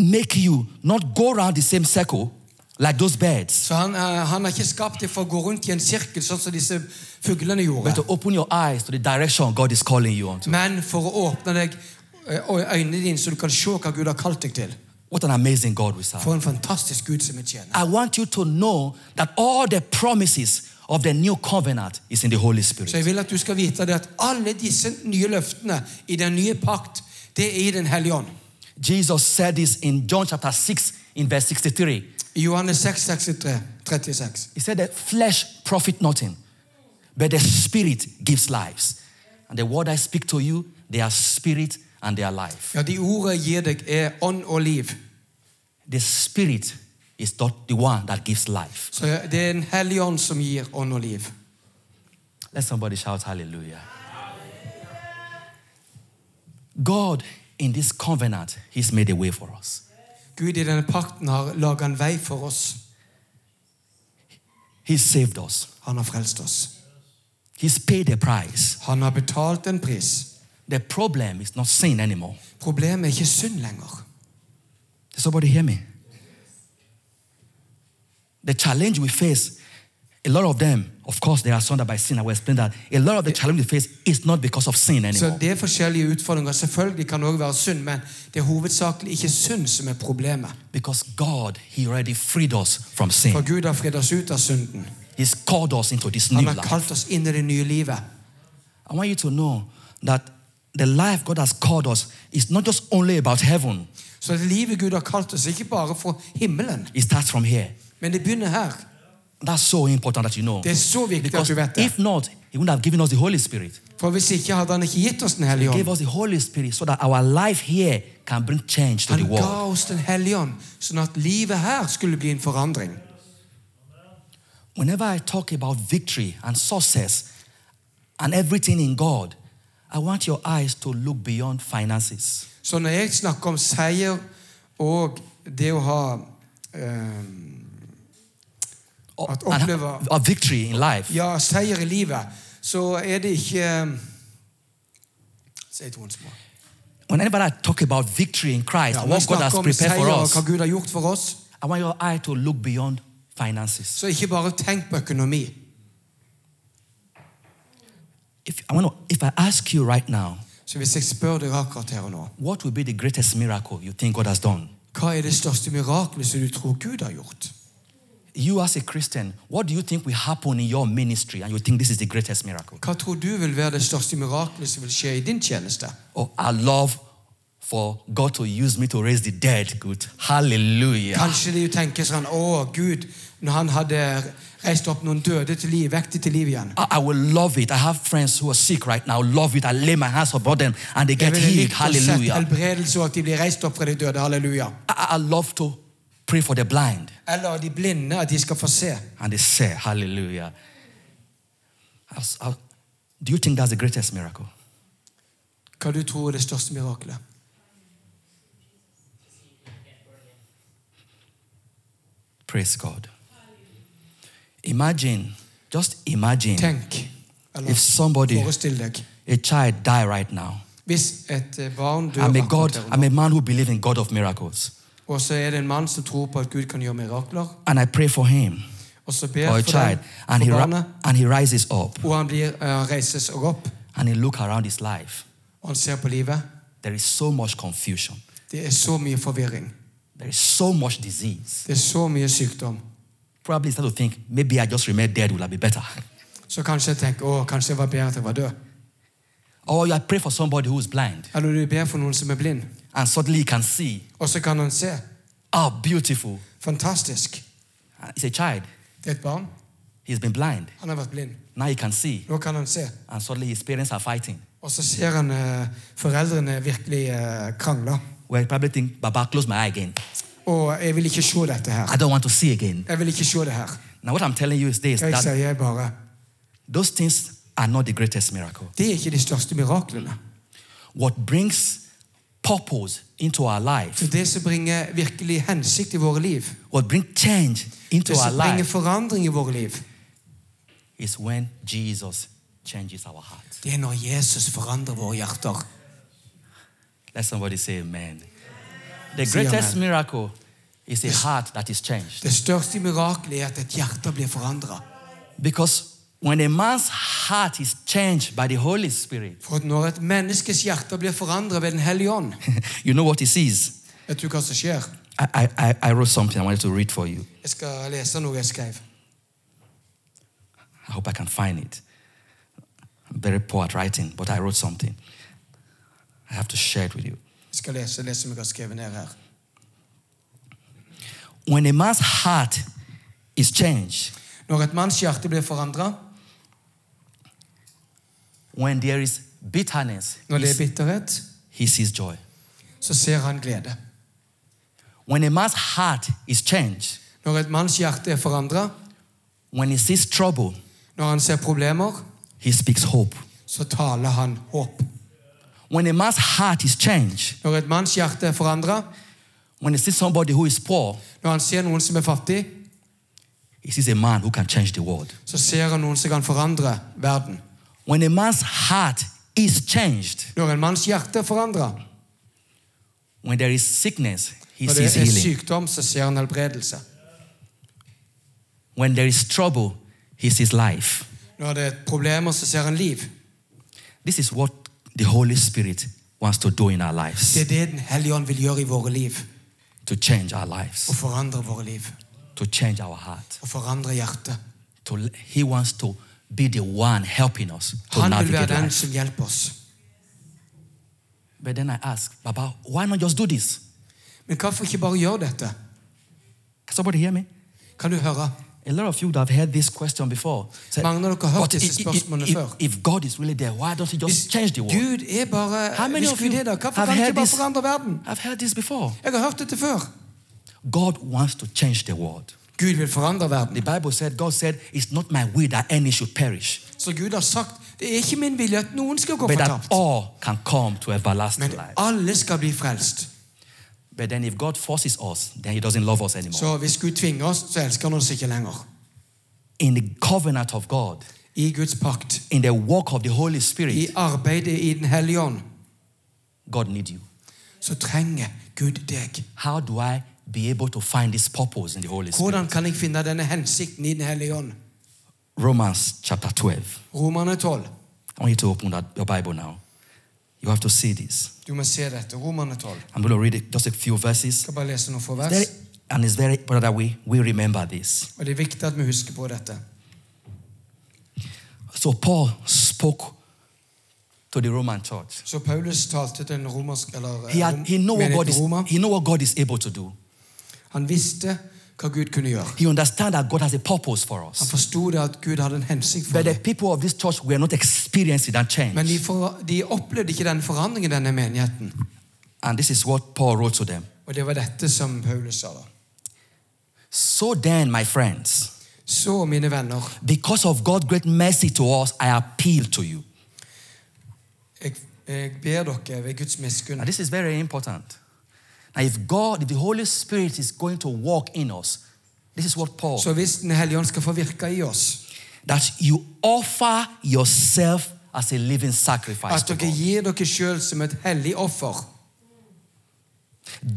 make you not go around the same circle like those birds, Så han, eh, han har ikke skapt det for å gå rundt i en sirkel, sånn som disse fuglene but gjorde. to open your eyes to the direction God is calling you onto. Men for å åpne deg eh, og øynene dine, så du kan se hva Gud har kalt deg til. What an amazing God we serve. For en fantastisk Gud som vi tjener. I want you to know that all the promises of the new covenant is in the Holy Spirit. Så jeg vil at du skal vite det at alle disse nye løftene i den nye pakt, det er i Den hellige ånd. Jesus said this in John chapter 6, in verse 63. I Johannes 6, 63, 36. He said that flesh profit nothing, but the spirit gives lives. And the word I speak to you, they are spirit and they are life. Ja, de ordene jeg gir deg, er ånd og liv. The spirit is not the one that gives life. Så det er Den hellige ånd som gir ånd og liv. Let somebody shout hallelujah. God in this covenant, He's made a way for us. Gud i denne pakten har laget en vei for oss. He saved us. Han har frelst oss. He's paid the price. Han har betalt en pris. The problem is not sin anymore. Problemet er ikke synd lenger. Does somebody hear me? The challenge we face, a lot of them, of course, they are sundered by sin. I will explain that. A lot of the challenge we face is not because of sin Så anymore. det er forskjellige utfordringer. Selvfølgelig kan det også være synd, men det er hovedsakelig ikke synd som er problemet. Because God, He already freed us from For sin. Gud har fridd oss ut av synden. He's called us into this new Han har life. kalt oss inn i det nye livet. I want you to know that the life God has called us is not just only about heaven, Så det livet Gud har kalt oss, er ikke bare fra himmelen, it starts from here. men det begynner her. That's so important that you know. Det er så viktig at Because du vet det. if not, He wouldn't have given us the Holy Spirit. For hvis ikke hadde han ikke gitt oss Den He hellige ånd. gave us the Holy Spirit so that our life here can bring change to the Han ga world. oss Den hellige ånd, sånn at livet her skulle bli en forandring. Whenever I talk about victory and success and everything in God, I want your eyes to look beyond finances. Så når jeg snakker om seier og det å ha eh, Or, At uppleva- and- or victory in life. ja, seier i livet, så er det ikke eh, Si det once more. Whenever I talk about victory in Christ, Ja, and når what jeg God has snakker om prepared for seier og us, hva Gud har gjort for oss, I want your eye to look beyond finances. så ikke bare tenk på økonomi. If I, want to, if I ask you right now, Så hvis jeg spør deg akkurat her og nå what will be the greatest miracle you think God has done? Hva er det største miraklet som du tror Gud har gjort? you as a Christian, what do you think will happen in your ministry and you think this is the greatest miracle? Hva tror du vil være det største mirakelet som vil skje i din tjeneste? Oh, I love for God to use me to raise the dead. Good. Hallelujah. Kanskje de tenker sånn Å, Gud, når han hadde reist opp noen døde til liv, vekk de til liv igjen. I, I will love it. I have friends who are sick right now. Love it. I lay my hands upon them and they Jeg get ville healed. likt å sett Hallelujah. helbredelse og at de blir reist opp fra de døde. Halleluja. I, I love to pray for the blind Eller de blinde, at de skal få se. and they say, Hallelujah. I was- I- do you think that's the greatest miracle? Hva du tror er det største mirakelet? Praise God. Imagine, just imagine Tenk, if eller somebody, forestill deg, a child, die right now. hvis et eh, barn dør I'm a akkurat God, her og I'm a man who believes in God of miracles. nå, og så er det en mann som tror på at Gud kan gjøre mirakler, And I pray for him og så ber or a for child. deg, And for he, ri- barnet, and he rises up og han blir, eh, reises og opp, and he look around his life. og han ser på livet. There is so much confusion. Det er så mye forvirring. There is so much disease. Det er så mye sykdom. Probably start to think, maybe I just remain dead, will I be better? Så kanskje jeg tenker å, kanskje det var bedre at jeg var død. Or you pray for somebody who is blind Eller du ber for noen som er blind, and suddenly he can see. og så kan han se. Oh, beautiful. Fantastisk. And He's a child. Det er et barn. He's been blind. Han har vært blind. Now he can see. Nå kan han se. And suddenly his parents are fighting. Og så ser han eh, foreldrene virkelig eh, krangle. Well, he probably think, Baba, close my eye again. Og jeg vil ikke se dette her. I don't want to see again. Jeg vil ikke se det her. Now, what I'm telling you is this Jeg that sier bare those things are not the greatest miracle. det er ikke de største miraklene. What brings purpose into our life, For det som bringer virkelig hensikt i våre liv, what brings change into det our som bringer life, forandring i våre liv, is when Jesus changes our heart. det er når Jesus forandrer våre hjerter. Let somebody say amen. The Say greatest amen. miracle is a heart that is changed. Det største mirakelet er at et hjerte blir forandra. Because when a man's heart is changed by the Holy Spirit, For at når et menneskes hjerte blir forandra ved Den hellige ånd you know what he sees. Vet du hva som skjer? I, I, I- I wrote something I wanted to read for you. Jeg skal lese noe jeg skrev. I hope I can find it. I'm very poor at writing, but I wrote something. I have to share it with you. Jeg skal lese, lese om jeg har skrevet ned her. When a man's heart is changed, Når et manns hjerte blir forandra, when there is bitterness, når det he er bitterhet, he sees joy. så ser han glede. When a man's heart is changed, Når et manns hjerte er forandra, when he sees trouble, når han ser problemer, he speaks hope. så taler han håp. When a man's heart is changed, Når et manns hjerte er forandra, when he sees somebody who is poor, når han ser noen som er fattig, he sees a man who can change the world. så ser han noen som kan forandre verden. When a man's heart is changed, Når en manns hjerte er forandra, when there is sickness, he når det sees er healing. sykdom, så ser han helbredelse. When there is trouble, he sees life. Når det er problemer, så ser han liv. This is what the Holy Spirit wants to do in our Det lives er det Den hellige ånd vil gjøre i våre liv. to change our Å lives, forandre våre liv. to change our heart. Å forandre hjertet. To, he wants to be the one helping us to Han vil navigate være den life. som hjelper oss. But then I ask, Baba, why not just do this? Men hvorfor ikke bare gjøre dette? Can somebody hear me? Kan du høre? A lot of you that have heard this question before. Say, Mange av dere har hørt "But disse i- i- i- spørsmålene if, før." if God is really there, why don't He Hvis just change the world? Gud er bare How many Hvis of Gud you er der, hvorfor have kan han ikke heard bare this? forandre verden? I've heard this before. Jeg har hørt dette før. God wants to change the world. Gud vil forandre The verden. Bible said, God said, It's not my will that any should perish, Så Gud har sagt det er ikke min vilje at noen skal gå but that fortapt, all can come to everlasting men life. alle skal bli frelst. But then if God forces us, then He doesn't love us anymore. Så hvis Gud tvinger oss, så elsker han oss ikke lenger. in the covenant of God, I Guds pakt, in the work of the Holy Spirit, i arbeidet i Den hellige ånd, God needs you. så trenger Gud deg. How do I be able to find this purpose in the Holy Spirit? Hvordan kan jeg finne denne hensikten i Den hellige ånd? Romans chapter 12. Romerne 12. I want you to open that, your Bible now. You have to see this. Du må se dette. Romerne 12. I'm going to read it, just a few verses. Jeg skal bare lese noen få There, vers. And it's very important that we, we remember this. Og det er viktig at vi husker på dette. So Paul spoke to the Roman church. Så Paulus talte til en romersk eller He, eh, had, rom- he, know what God menigheten i is, Roma. he know what God is able to do. Han visste hva Gud kunne gjøre. He understand that God has a purpose for Han us. forsto det at Gud hadde en hensikt for But the dem. people of this church were not experiencing that Men de, change. for, de opplevde ikke den forandringen i denne menigheten. And this is what Paul wrote to them. Og det var dette som Paulus sa da. So then, my friends, Så, mine venner, because of God's great mercy to us, I appeal to you. jeg, jeg ber dere ved Guds miskunn Now, this is very important. Now, if God, if the Holy Spirit is going to walk in us, this is what Paul, Så hvis Den hellige ånd skal få virke i oss, that you offer yourself as a living sacrifice at to dere God, gir dere sjøl som et hellig offer,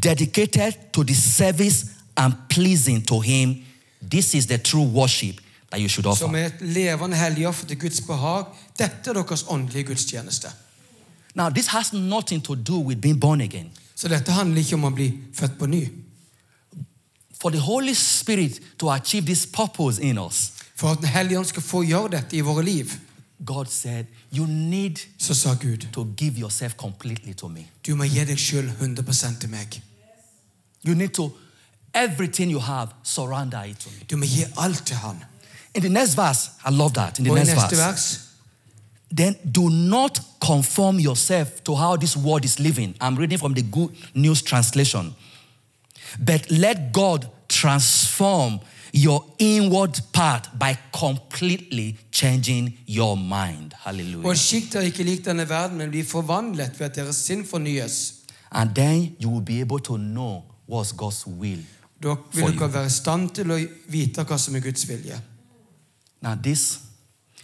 dedicated to the service and pleasing to Him. This is the true worship that you should som offer. er et levende hellig offer til Guds behag, dette er deres åndelige gudstjeneste. Now, this has nothing to do with being born again. Så dette handler ikke om å bli født på ny. For the Holy Spirit to achieve this purpose in us, For at Den hellige ånd skal få gjøre dette i våre liv, God said, You need så sa Gud, to give yourself completely to me. du må gi deg sjøl 100 til meg. You need to, everything you have, surrender it to me. Du må gi alt til Han. In the next verse, I love that. In the Og i next verse, neste vers then do not conform yourself to how this world is living. I'm reading from the Good News Translation. But let God transform your inward part by completely changing your mind. Og Hallelujah. skikk dere ikke lik denne verden, men bli forvandlet ved at deres sinn fornyes. And then you will be able to know what's God's will. Da vil For dere you. være i stand til å vite hva som er Guds vilje. Now, this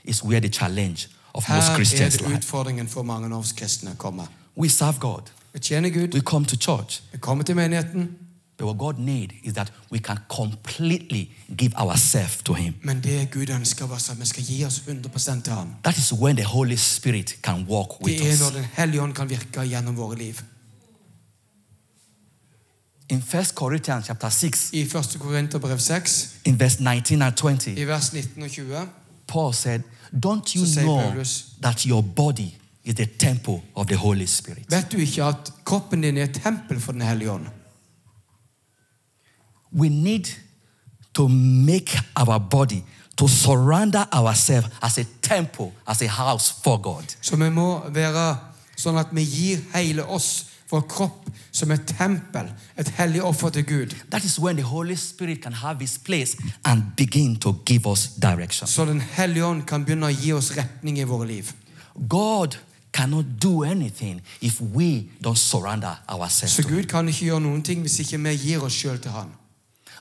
is where the challenge of most Her er Christians det lie. utfordringen for mange av oss kristne kommer. We serve God, Vi tjener Gud, we come to church. vi kommer til menigheten, But what God needs is that we can completely give ourselves to Him. men det Gud ønsker var at vi skal gi oss 100 til Han. That is when the Holy Spirit can walk Det with er når us. Den hellige ånd kan virke gjennom våre liv. In 1 Corinthians chapter 6, I 1. Korinterbrev 6, in verse 19 and 20, i vers 19 og 20, Paul said, Don't you So say, know Paulus- that your body is the temple of the Holy Spirit? vet du ikke at kroppen din er et tempel for Den hellige ånd? We need to make our body to surrender ourselves as a temple, as a house for God. Så vi må være sånn at vi gir hele oss, vår kropp, som et tempel, et hellig offer til Gud. That is when the Holy Spirit can have his place and begin to give us direction. Så Den hellige ånd kan begynne å gi oss retning i våre liv. God cannot do anything if we don't surrender ourselves Så to Gud kan ikke gjøre noen ting hvis ikke vi gir oss sjøl til Han.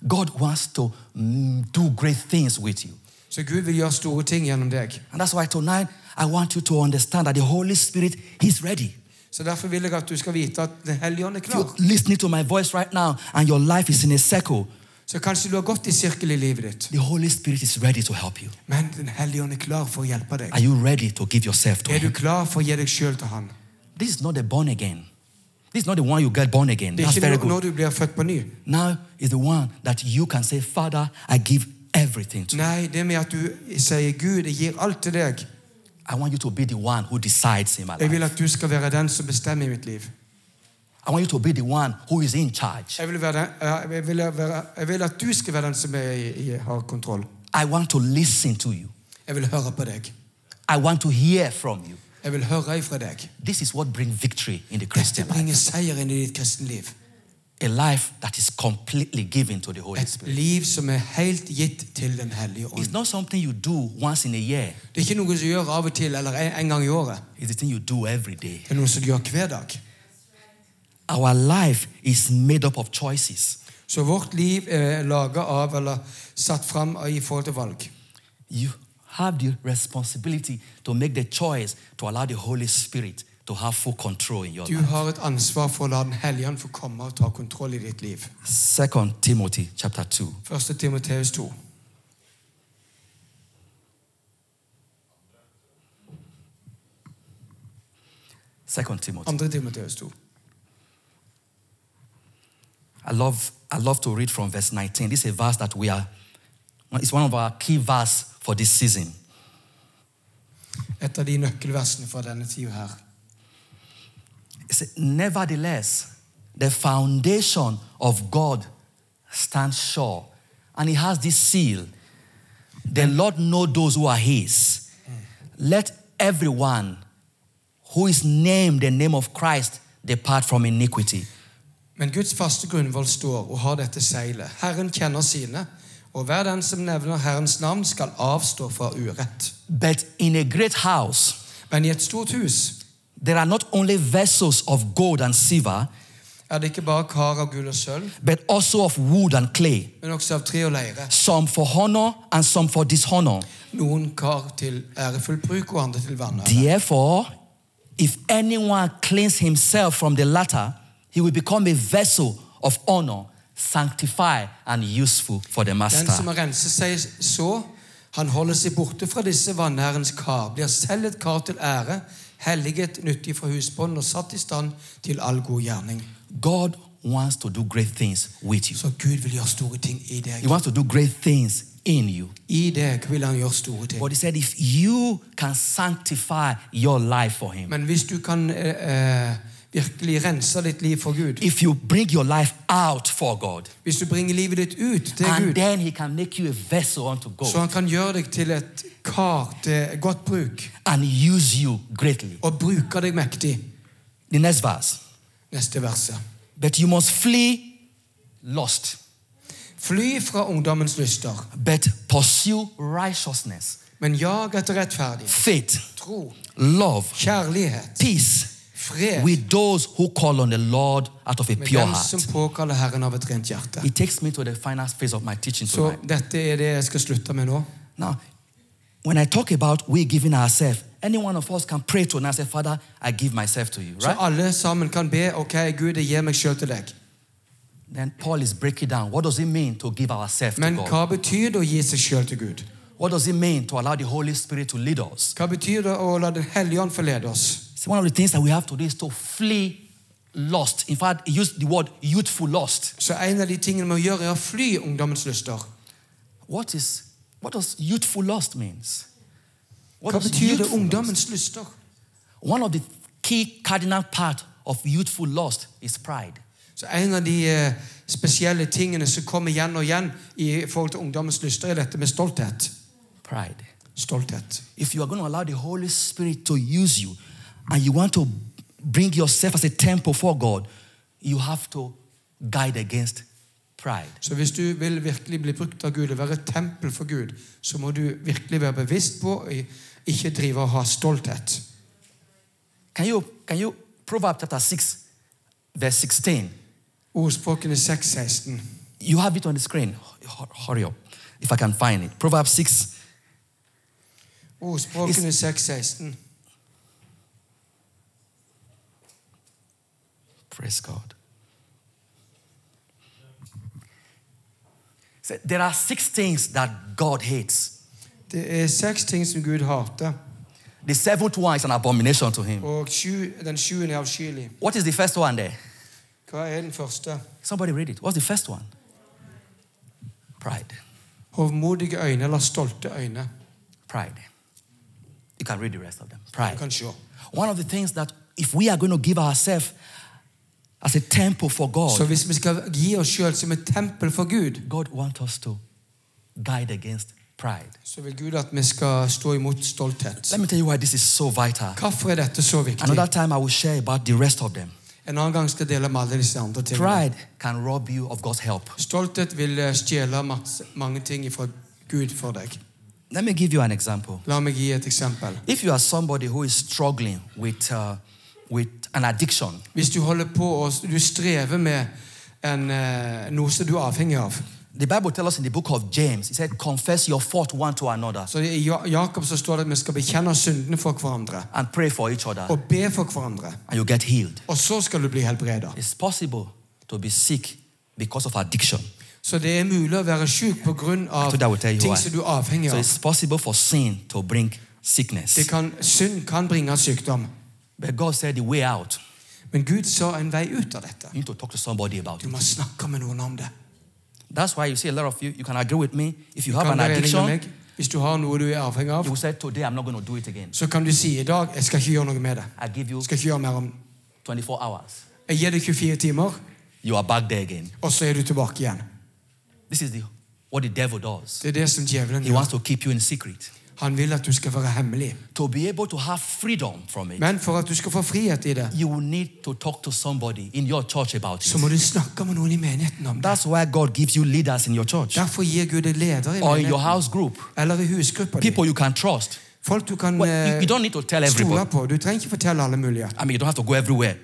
God wants to mm, do great things with you. Så Gud vil gjøre store ting gjennom deg. And that's why tonight I want you to understand that the Holy Spirit is ready. Så Derfor vil jeg at du skal vite at Den hellige ånd er If you're klar. listening to my voice right now and your life is in a circle, Så kanskje du har gått i sirkel i livet ditt, the Holy Spirit is ready to help you. men Den hellige ånd er klar for å hjelpe deg. Are you ready to give yourself to Er du Him? klar for å gi deg sjøl til Han? This is not the born again. This is not the one you get born again. Det er That's ikke very når- good. når du blir født på ny. Now is the one that you can say, Father, I give everything to you. Nei, det er med at du sier 'Gud, jeg gir alt til deg'. I want you to be the one who decides in my Jeg life. vil at du skal være den som bestemmer i mitt liv. I want you to be the one who is in charge. Jeg vil, være den, ja, jeg vil, være, jeg vil at du skal være den som er, i- i- har kontroll. I want to listen to you. Jeg vil høre på deg. I want to hear from you. Jeg vil høre ifra deg. This is what brings victory in the Dette Christian life. bringer seier inn i ditt kristenliv. A life that is completely given to the Holy Et Spirit. liv som er helt gitt til Den hellige It's ånd. not something you do once in a year. Det er ikke noe som gjør av og til eller en, en gang i året. It's the thing you do every day. Det er noe som du gjør hver dag. Our life is made up of choices. Så vårt liv er laga av eller satt fram i forhold til valg. You have the responsibility to make the choice to allow the Holy Spirit to have full control in your Du life. har et ansvar for å la Den hellige ånd få komme og ta kontroll i ditt liv. Second Timothy chapter 2. 1. Timoteus 2. Second Timothy. Um, 2. Timoteus 2. I love, I love to read from verse 19. This is a verse that we are, it's one of our key verse for this season. Et av de nøkkelversene fra denne tida her. It said, Nevertheless, the foundation of God stands sure. And he has this seal. The Lord know those who are his. Let everyone who is named the name of Christ depart from iniquity. Men Guds faste grunnvoll står og har dette seilet. Herren kjenner sine, og hver den som nevner Herrens navn, skal avstå fra urett. But in a great house, Men i et stort hus there are not only vessels of gold and silver, er det ikke bare kar av gull og sølv, but also of wood and clay, men også av tre og leire. some for honor and some for dishonor. Noen kar til ærefull bruk, og andre til vanære. Therefore, if anyone cleans himself from the latter, he will become a vessel of honor, sanctified, and useful for the Den som master. har renset seg så, han holder seg borte fra disse vanærens kar, blir selv et kar til ære, helliget, nyttig for husbånd og satt i stand til all god gjerning. God wants to do great things with you. Så Gud vil gjøre store ting i deg. He wants to do great things in you. I deg vil han gjøre store ting. But he said, if you can sanctify your life for him, Men hvis du kan eh, eh, virkelig rense ditt liv for Gud, if you bring your life out for God, hvis du bringer livet ditt ut til and Gud, then he can make you a vessel unto så God han kan gjøre deg til et kar til godt bruk, and use you greatly. og bruker deg mektig. The next verse. Neste verset. But you must flee lust. Fly fra ungdommens lyster, but pursue righteousness, men jag etter rettferdig, faith, tro, love, kjærlighet, peace fred with those who call on the Lord out of a med pure dem som heart. påkaller Herren av et rent hjerte. It takes me to the final phase of my teaching Så tonight. dette er det jeg skal slutte med nå. Now, when I talk about we giving ourselves, any one of us can pray to and say, Father, I give myself to you, Så right? alle sammen kan be ok, Gud, jeg gir meg sjøl til deg. Then Paul is breaking down. What does it mean to give ourselves to Men God? hva betyr det å gi seg sjøl til Gud? What does it mean to allow the Holy Spirit to lead us? Hva betyr det å la Den hellige ånd forlede oss? See, one of the things that we have to do is to flee lust. In fact, he used the word youthful lust. Så en av de tingene vi må gjøre, er å fly ungdommens lyster. What is what does youthful lust means? What Hva does betyr det youthful lust? ungdommens lyster? One of the key cardinal part of youthful lust is pride. Så en av de eh, spesielle tingene som kommer igjen og igjen i forhold til ungdommens lyster, er dette med stolthet. Pride. Stolthet. If you are going to allow the Holy Spirit to use you and you want to bring yourself as a temple for God, you have to guide against pride. Så hvis du vil virkelig bli brukt av Gud og være et tempel for Gud, så må du virkelig være bevisst på å ikke drive og ha stolthet. Can you can you Proverbs chapter 6 verse 16. Ordspråkene 6.16. You have it on the screen. Hu- Hurry up if I can find it. Proverbs 6 Ordspråkene 6.16. Praise God. So there are six things that God hates. Det er seks ting som Gud hater, The seventh one is an abomination to him. og sju, den sjuende er avskyelig. What is the first one there? Hva er den første? Somebody read it. What's the first one? Pride. Hovmodige øyne eller stolte øyne. Pride. You can read the rest of them. Du Pride. kan se. One of the things that if we are going to give ourselves as a temple for Så God, hvis vi skal gi oss sjøl som et tempel for Gud, God wants us to guide against pride. så vil Gud at vi skal stå imot stolthet. Let me tell you why this is so vital. Hvorfor er dette så viktig? Another time I will share about the rest of them. En annen gang skal jeg dele med alle disse andre tingene. Pride can rob you of God's help. Stolthet vil eh, stjele masse, mange ting fra Gud for deg. Let me give you an example. La meg gi et eksempel. If you are somebody who is struggling with, uh, with an addiction, Hvis du holder på og du strever med en, eh, noe som du er avhengig av the Bible tells us in the book of James, it said, Confess your fault one to another Så I Ja- Jakob så står det at vi skal bekjenne syndene for hverandre and pray for each other, og be for hverandre. and you get healed. Og så skal du bli helbreda. It's possible to be sick because of addiction. Så det er mulig å være sjuk pga. So that will tell you ting why. som du er avhengig So av. it's possible for sin to bring Det sickness. kan, synd kan bringe sykdom. But God said the way out Men Men Gud så en vei ut av dette. You need to talk to somebody about Du it. må snakke med noen om det. That's why you see a lot of you, you can agree with me. If you have Kan an du være enig med addiction, meg? Hvis du har noe du er avhengig av, you will say, Today I'm not going to do it again. så kan du si i dag 'Jeg skal ikke gjøre noe med det'. I give you Jeg skal ikke gjøre mer om 24 hours. Jeg gir deg 24 timer, You are back there again. og så er du tilbake igjen. This is the, what the devil does. Det er det som djevelen He gjør. wants to keep you in secret. Han vil at du skal være hemmelig. To be able to have freedom from it, Men for at du skal få frihet i det, you will need to talk to somebody in your church about så it. må du snakke med noen i menigheten om det. That's why God gives you leaders in your church Derfor gir Gud deg ledere i or in your menigheten. house group, Eller i husgruppa di. people you can trust. Folk du kan Well, you, eh, you don't need to tell stole everybody. på. Du trenger ikke fortelle alle mulige. I mean, you don't have to go everywhere.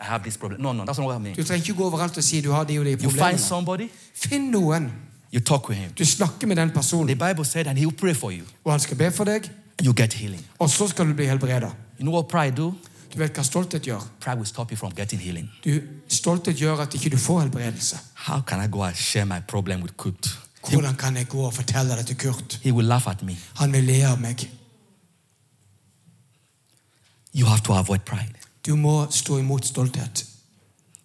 I have this problem. No, no, that's not what I mean. Du trenger ikke gå overalt og si du har de og de You find problemene. somebody, Finn noen. you talk with him. Du snakker med den The personen, Bible said, and he'll pray for you, og han skal be for deg, and you get healing. og så skal du bli helbreda. You know what pride do? Du vet hva stolthet gjør. Pride will stop you from getting healing. Du, stolthet gjør at ikke du får helbredelse. How can I go and share my problem with Kut? Hvordan kan jeg gå og fortelle det til Kurt? He will laugh at me. Han vil le av meg. You have to avoid pride. Du må stå imot stolthet.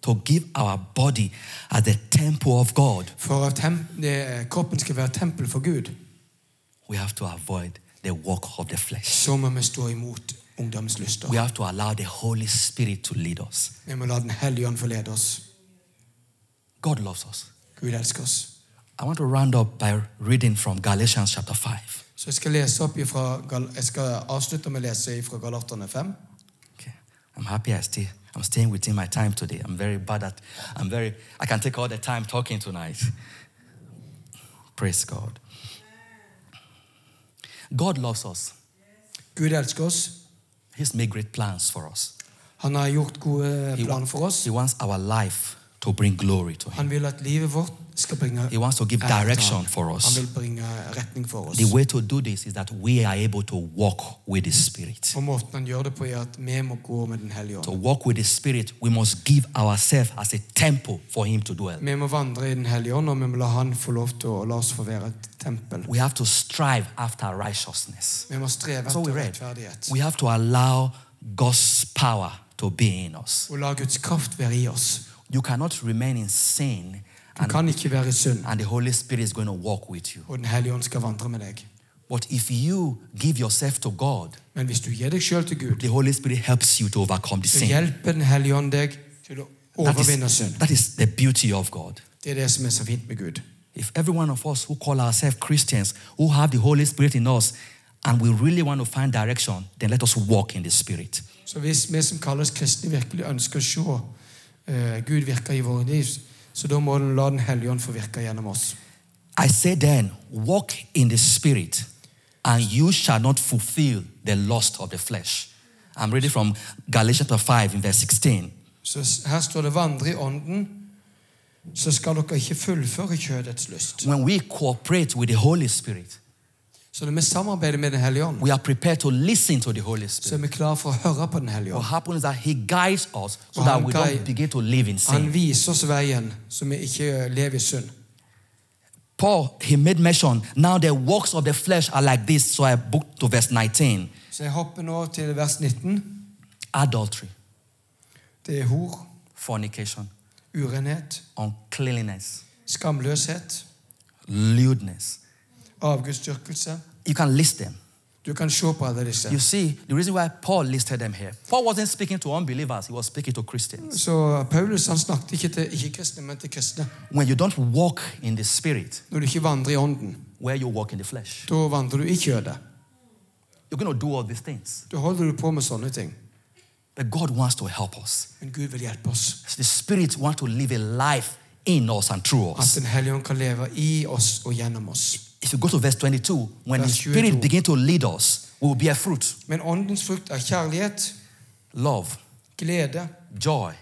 To give our body as the temple of God, For at tem det, kroppen skal være tempel for Gud, we have to avoid the work of the flesh. så må vi stå imot ungdommens lyster. We have to allow the Holy Spirit to lead us. Vi må la Den hellige ånd forlede oss. God loves us. Gud elsker oss. I want to round up by reading from Galatians chapter 5. Så jeg skal, lese opp ifra, Gal- jeg skal avslutte med å lese fra Galaterne 5. Okay. I'm happy I stay. I'm staying within my time today. I'm very bad at I'm very I can take all the time talking tonight. Praise God. God loves us. Gud elsker oss. He's made great plans for us. Han har gjort gode He, wa- planer for oss. He wants our life to bring glory to Him. Han vil at livet vårt skal bringe He wants to give ære til ham. direction for us. Han vil bringe retning for oss. The way to do this is that we are able to walk with the Spirit. Og måten han gjør det på, er at vi må gå med Den hellige To ånd. walk with the Spirit, we must give ourselves as a temple for Him to dwell. Vi må vandre i Den hellige ånd, og vi må la Han få lov til å la oss få være et tempel. We have to strive after righteousness. Vi må streve So we etter read. rettferdighet. We have to allow God's power to be in us. Og la Guds kraft være i oss. You cannot remain in sin Du and, kan ikke være i synd, and the Holy Spirit is going to walk with you. og Den hellige ånd skal vandre med deg. But if you give yourself to God, Men hvis du gir deg sjøl til Gud, the Holy Spirit helps you to overcome the så sin. hjelper Den hellige ånd deg til å That overvinne is, synd. that is the beauty of God. Det er det som er så fint med Gud. If every one of us who call ourselves Christians, who have the Holy Spirit in us, and we really want to find direction, then let us walk in the Spirit. Så hvis vi som kalles kristne, virkelig ønsker å se eh, Gud virke i våre liv, så da må den la Den hellige ånd få virke gjennom oss. I say then, walk in the spirit, and you shall not fulfill the lust of the flesh. I'm reading from Galatians chapter 5 in verse 16. Så s- her står det 'vandre i ånden', så skal dere ikke fullføre kjødets lyst. When we cooperate with the Holy Spirit, Så når vi samarbeider med Den hellige ånd, we are prepared to listen to the Holy så Spirit. er vi klare for å høre på Den hellige What ånd. happens is that He guides us so that we don't begin to live in Han sin. viser oss veien, så vi ikke lever i synd. Paul, he made mention, now the works of the flesh are like this. So I booked to verse 19 Så jeg hopper nå til vers 19. adultery, Det er hor, fornication, urenhet, uncleanness, skamløshet, lewdness. avgudsdyrkelse. You can list them. Du kan se på alle disse. You see, the reason why Paul listed them here, Paul wasn't speaking to unbelievers, he was speaking to Christians. Så Paulus han snakket ikke til ikke-kristne, men til kristne. When you don't walk in the spirit, Når du ikke vandrer i ånden, where you walk in the flesh, da vandrer du i kjødet. you're going to do all these things. Da holder du på med sånne ting. But God wants to help us. Men Gud vil hjelpe oss. The spirit wants to live a life in us and through At us. Den hellige ånd kan leve i oss og gjennom oss. If you go to verse 22, when the Verse spirit 22. begins to lead us, we will bear fruit, Men åndens frukt er kjærlighet, love, glede, joy,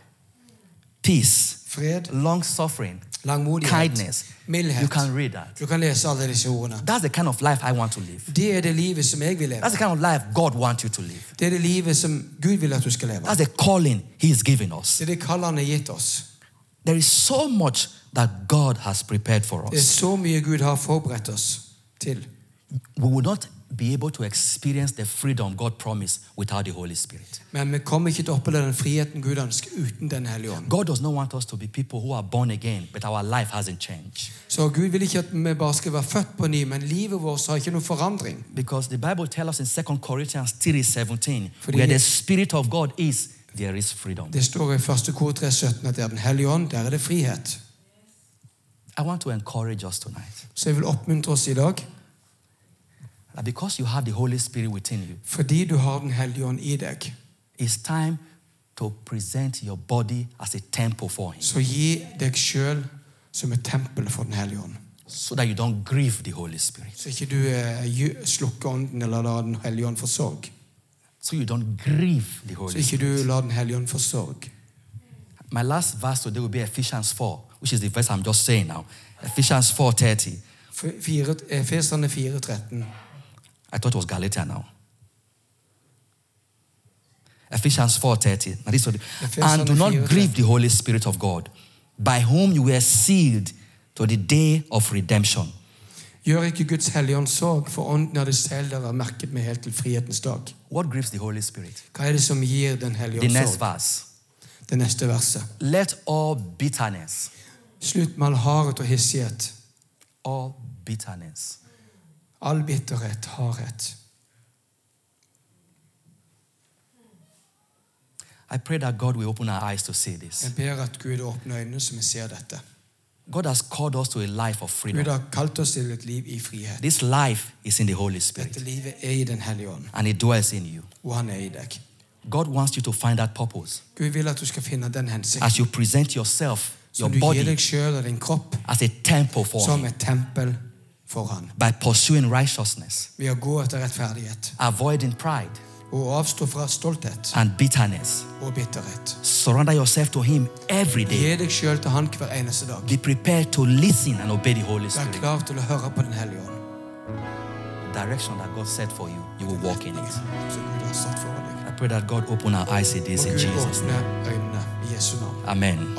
peace, fred, long suffering, langmodighet, kindness. You can mildhet. read that. Du kan lese alle disse ordene. That's the kind of life I want to live. Det er det livet som jeg vil leve. That's the kind of life God wants you to live. Det er det livet som Gud vil at du skal leve. That's the calling He's giving us. Det er det kallet han har gitt oss. There is so much that God has prepared for Det er us. så mye Gud har forberedt oss til. We will not be able to experience the freedom God promised without the Holy Spirit. Men vi kommer ikke til å oppleve den friheten Gud ønsker uten Den hellige ånd. God does not want us to be people who are born again, but our life hasn't changed. Så Gud vil ikke at vi bare skal være født på ny, men livet vårt har ikke noen forandring. Because the Bible tells us in 2 Corinthians 3 17, For the- where the Spirit of God is, there is freedom. Det står i 1. Kor 3, 17 at det er Den hellige ånd, der er det frihet. I want to encourage us tonight Så jeg vil oppmuntre oss i dag, that because you have the Holy Spirit within you, fordi du har Den hellige ånd i deg, it's time to present your body as a temple for Him så gi deg sjøl som et tempel for Den hellige ånd. so that you don't grieve the Holy Spirit, Så ikke du eh, gju- slukker ånden eller lar Den hellige ånd få sorg. so you don't grieve the Så Holy ikke du Spirit. lar Den hellige ånd få sorg. My last verse today will be Ephesians 4, which is the verse I'm just saying now. Ephesians 4:30. F- fire- Efeserne 4, 13. I thought it was Galatia now. Ephesians 4:30. Now this one- Ephesians And do not 4:30. grieve the Holy Spirit of God, by whom you were sealed to the day of redemption. Gjør ikke Guds hellige ånd sorg, for ånden av det selv der er merket med helt til frihetens dag. What grieves the Holy Spirit? Hva er det som gir Den hellige The ånd next sorg? verse. Det neste verset. Let all bitterness, Slutt med all hardhet og hissighet, all bitterness, all bitterhet, hardhet. I pray that God will open our eyes to see this. Jeg ber at Gud åpner øynene så vi ser dette. God has called us to a life of Gud freedom. har kalt oss til et liv i frihet. This life is in the Holy Dette Spirit livet er i Den hellige ånd, and it dwells in you. og han er i deg. God wants you to find that purpose Gud vil at du skal finne den hensikten as you present yourself, your som du gir body, deg sjøl og din kropp as a temple for som Him et tempel for han. by pursuing righteousness, Ved å gå etter rettferdighet avoiding pride og avstå fra stolthet and bitterness. og bitterhet. Surrender yourself to Him every day. Gi deg sjøl til han hver eneste dag. Be prepared to listen and obey the Holy Vær Spirit. klar til å høre på Den hellige ånd, The direction that God set for you, you will walk in it. som Gud har satt for deg. I pray that God open our eyes in this Og in Gud Jesus' name. åpner øynene i Jesu navn. Amen.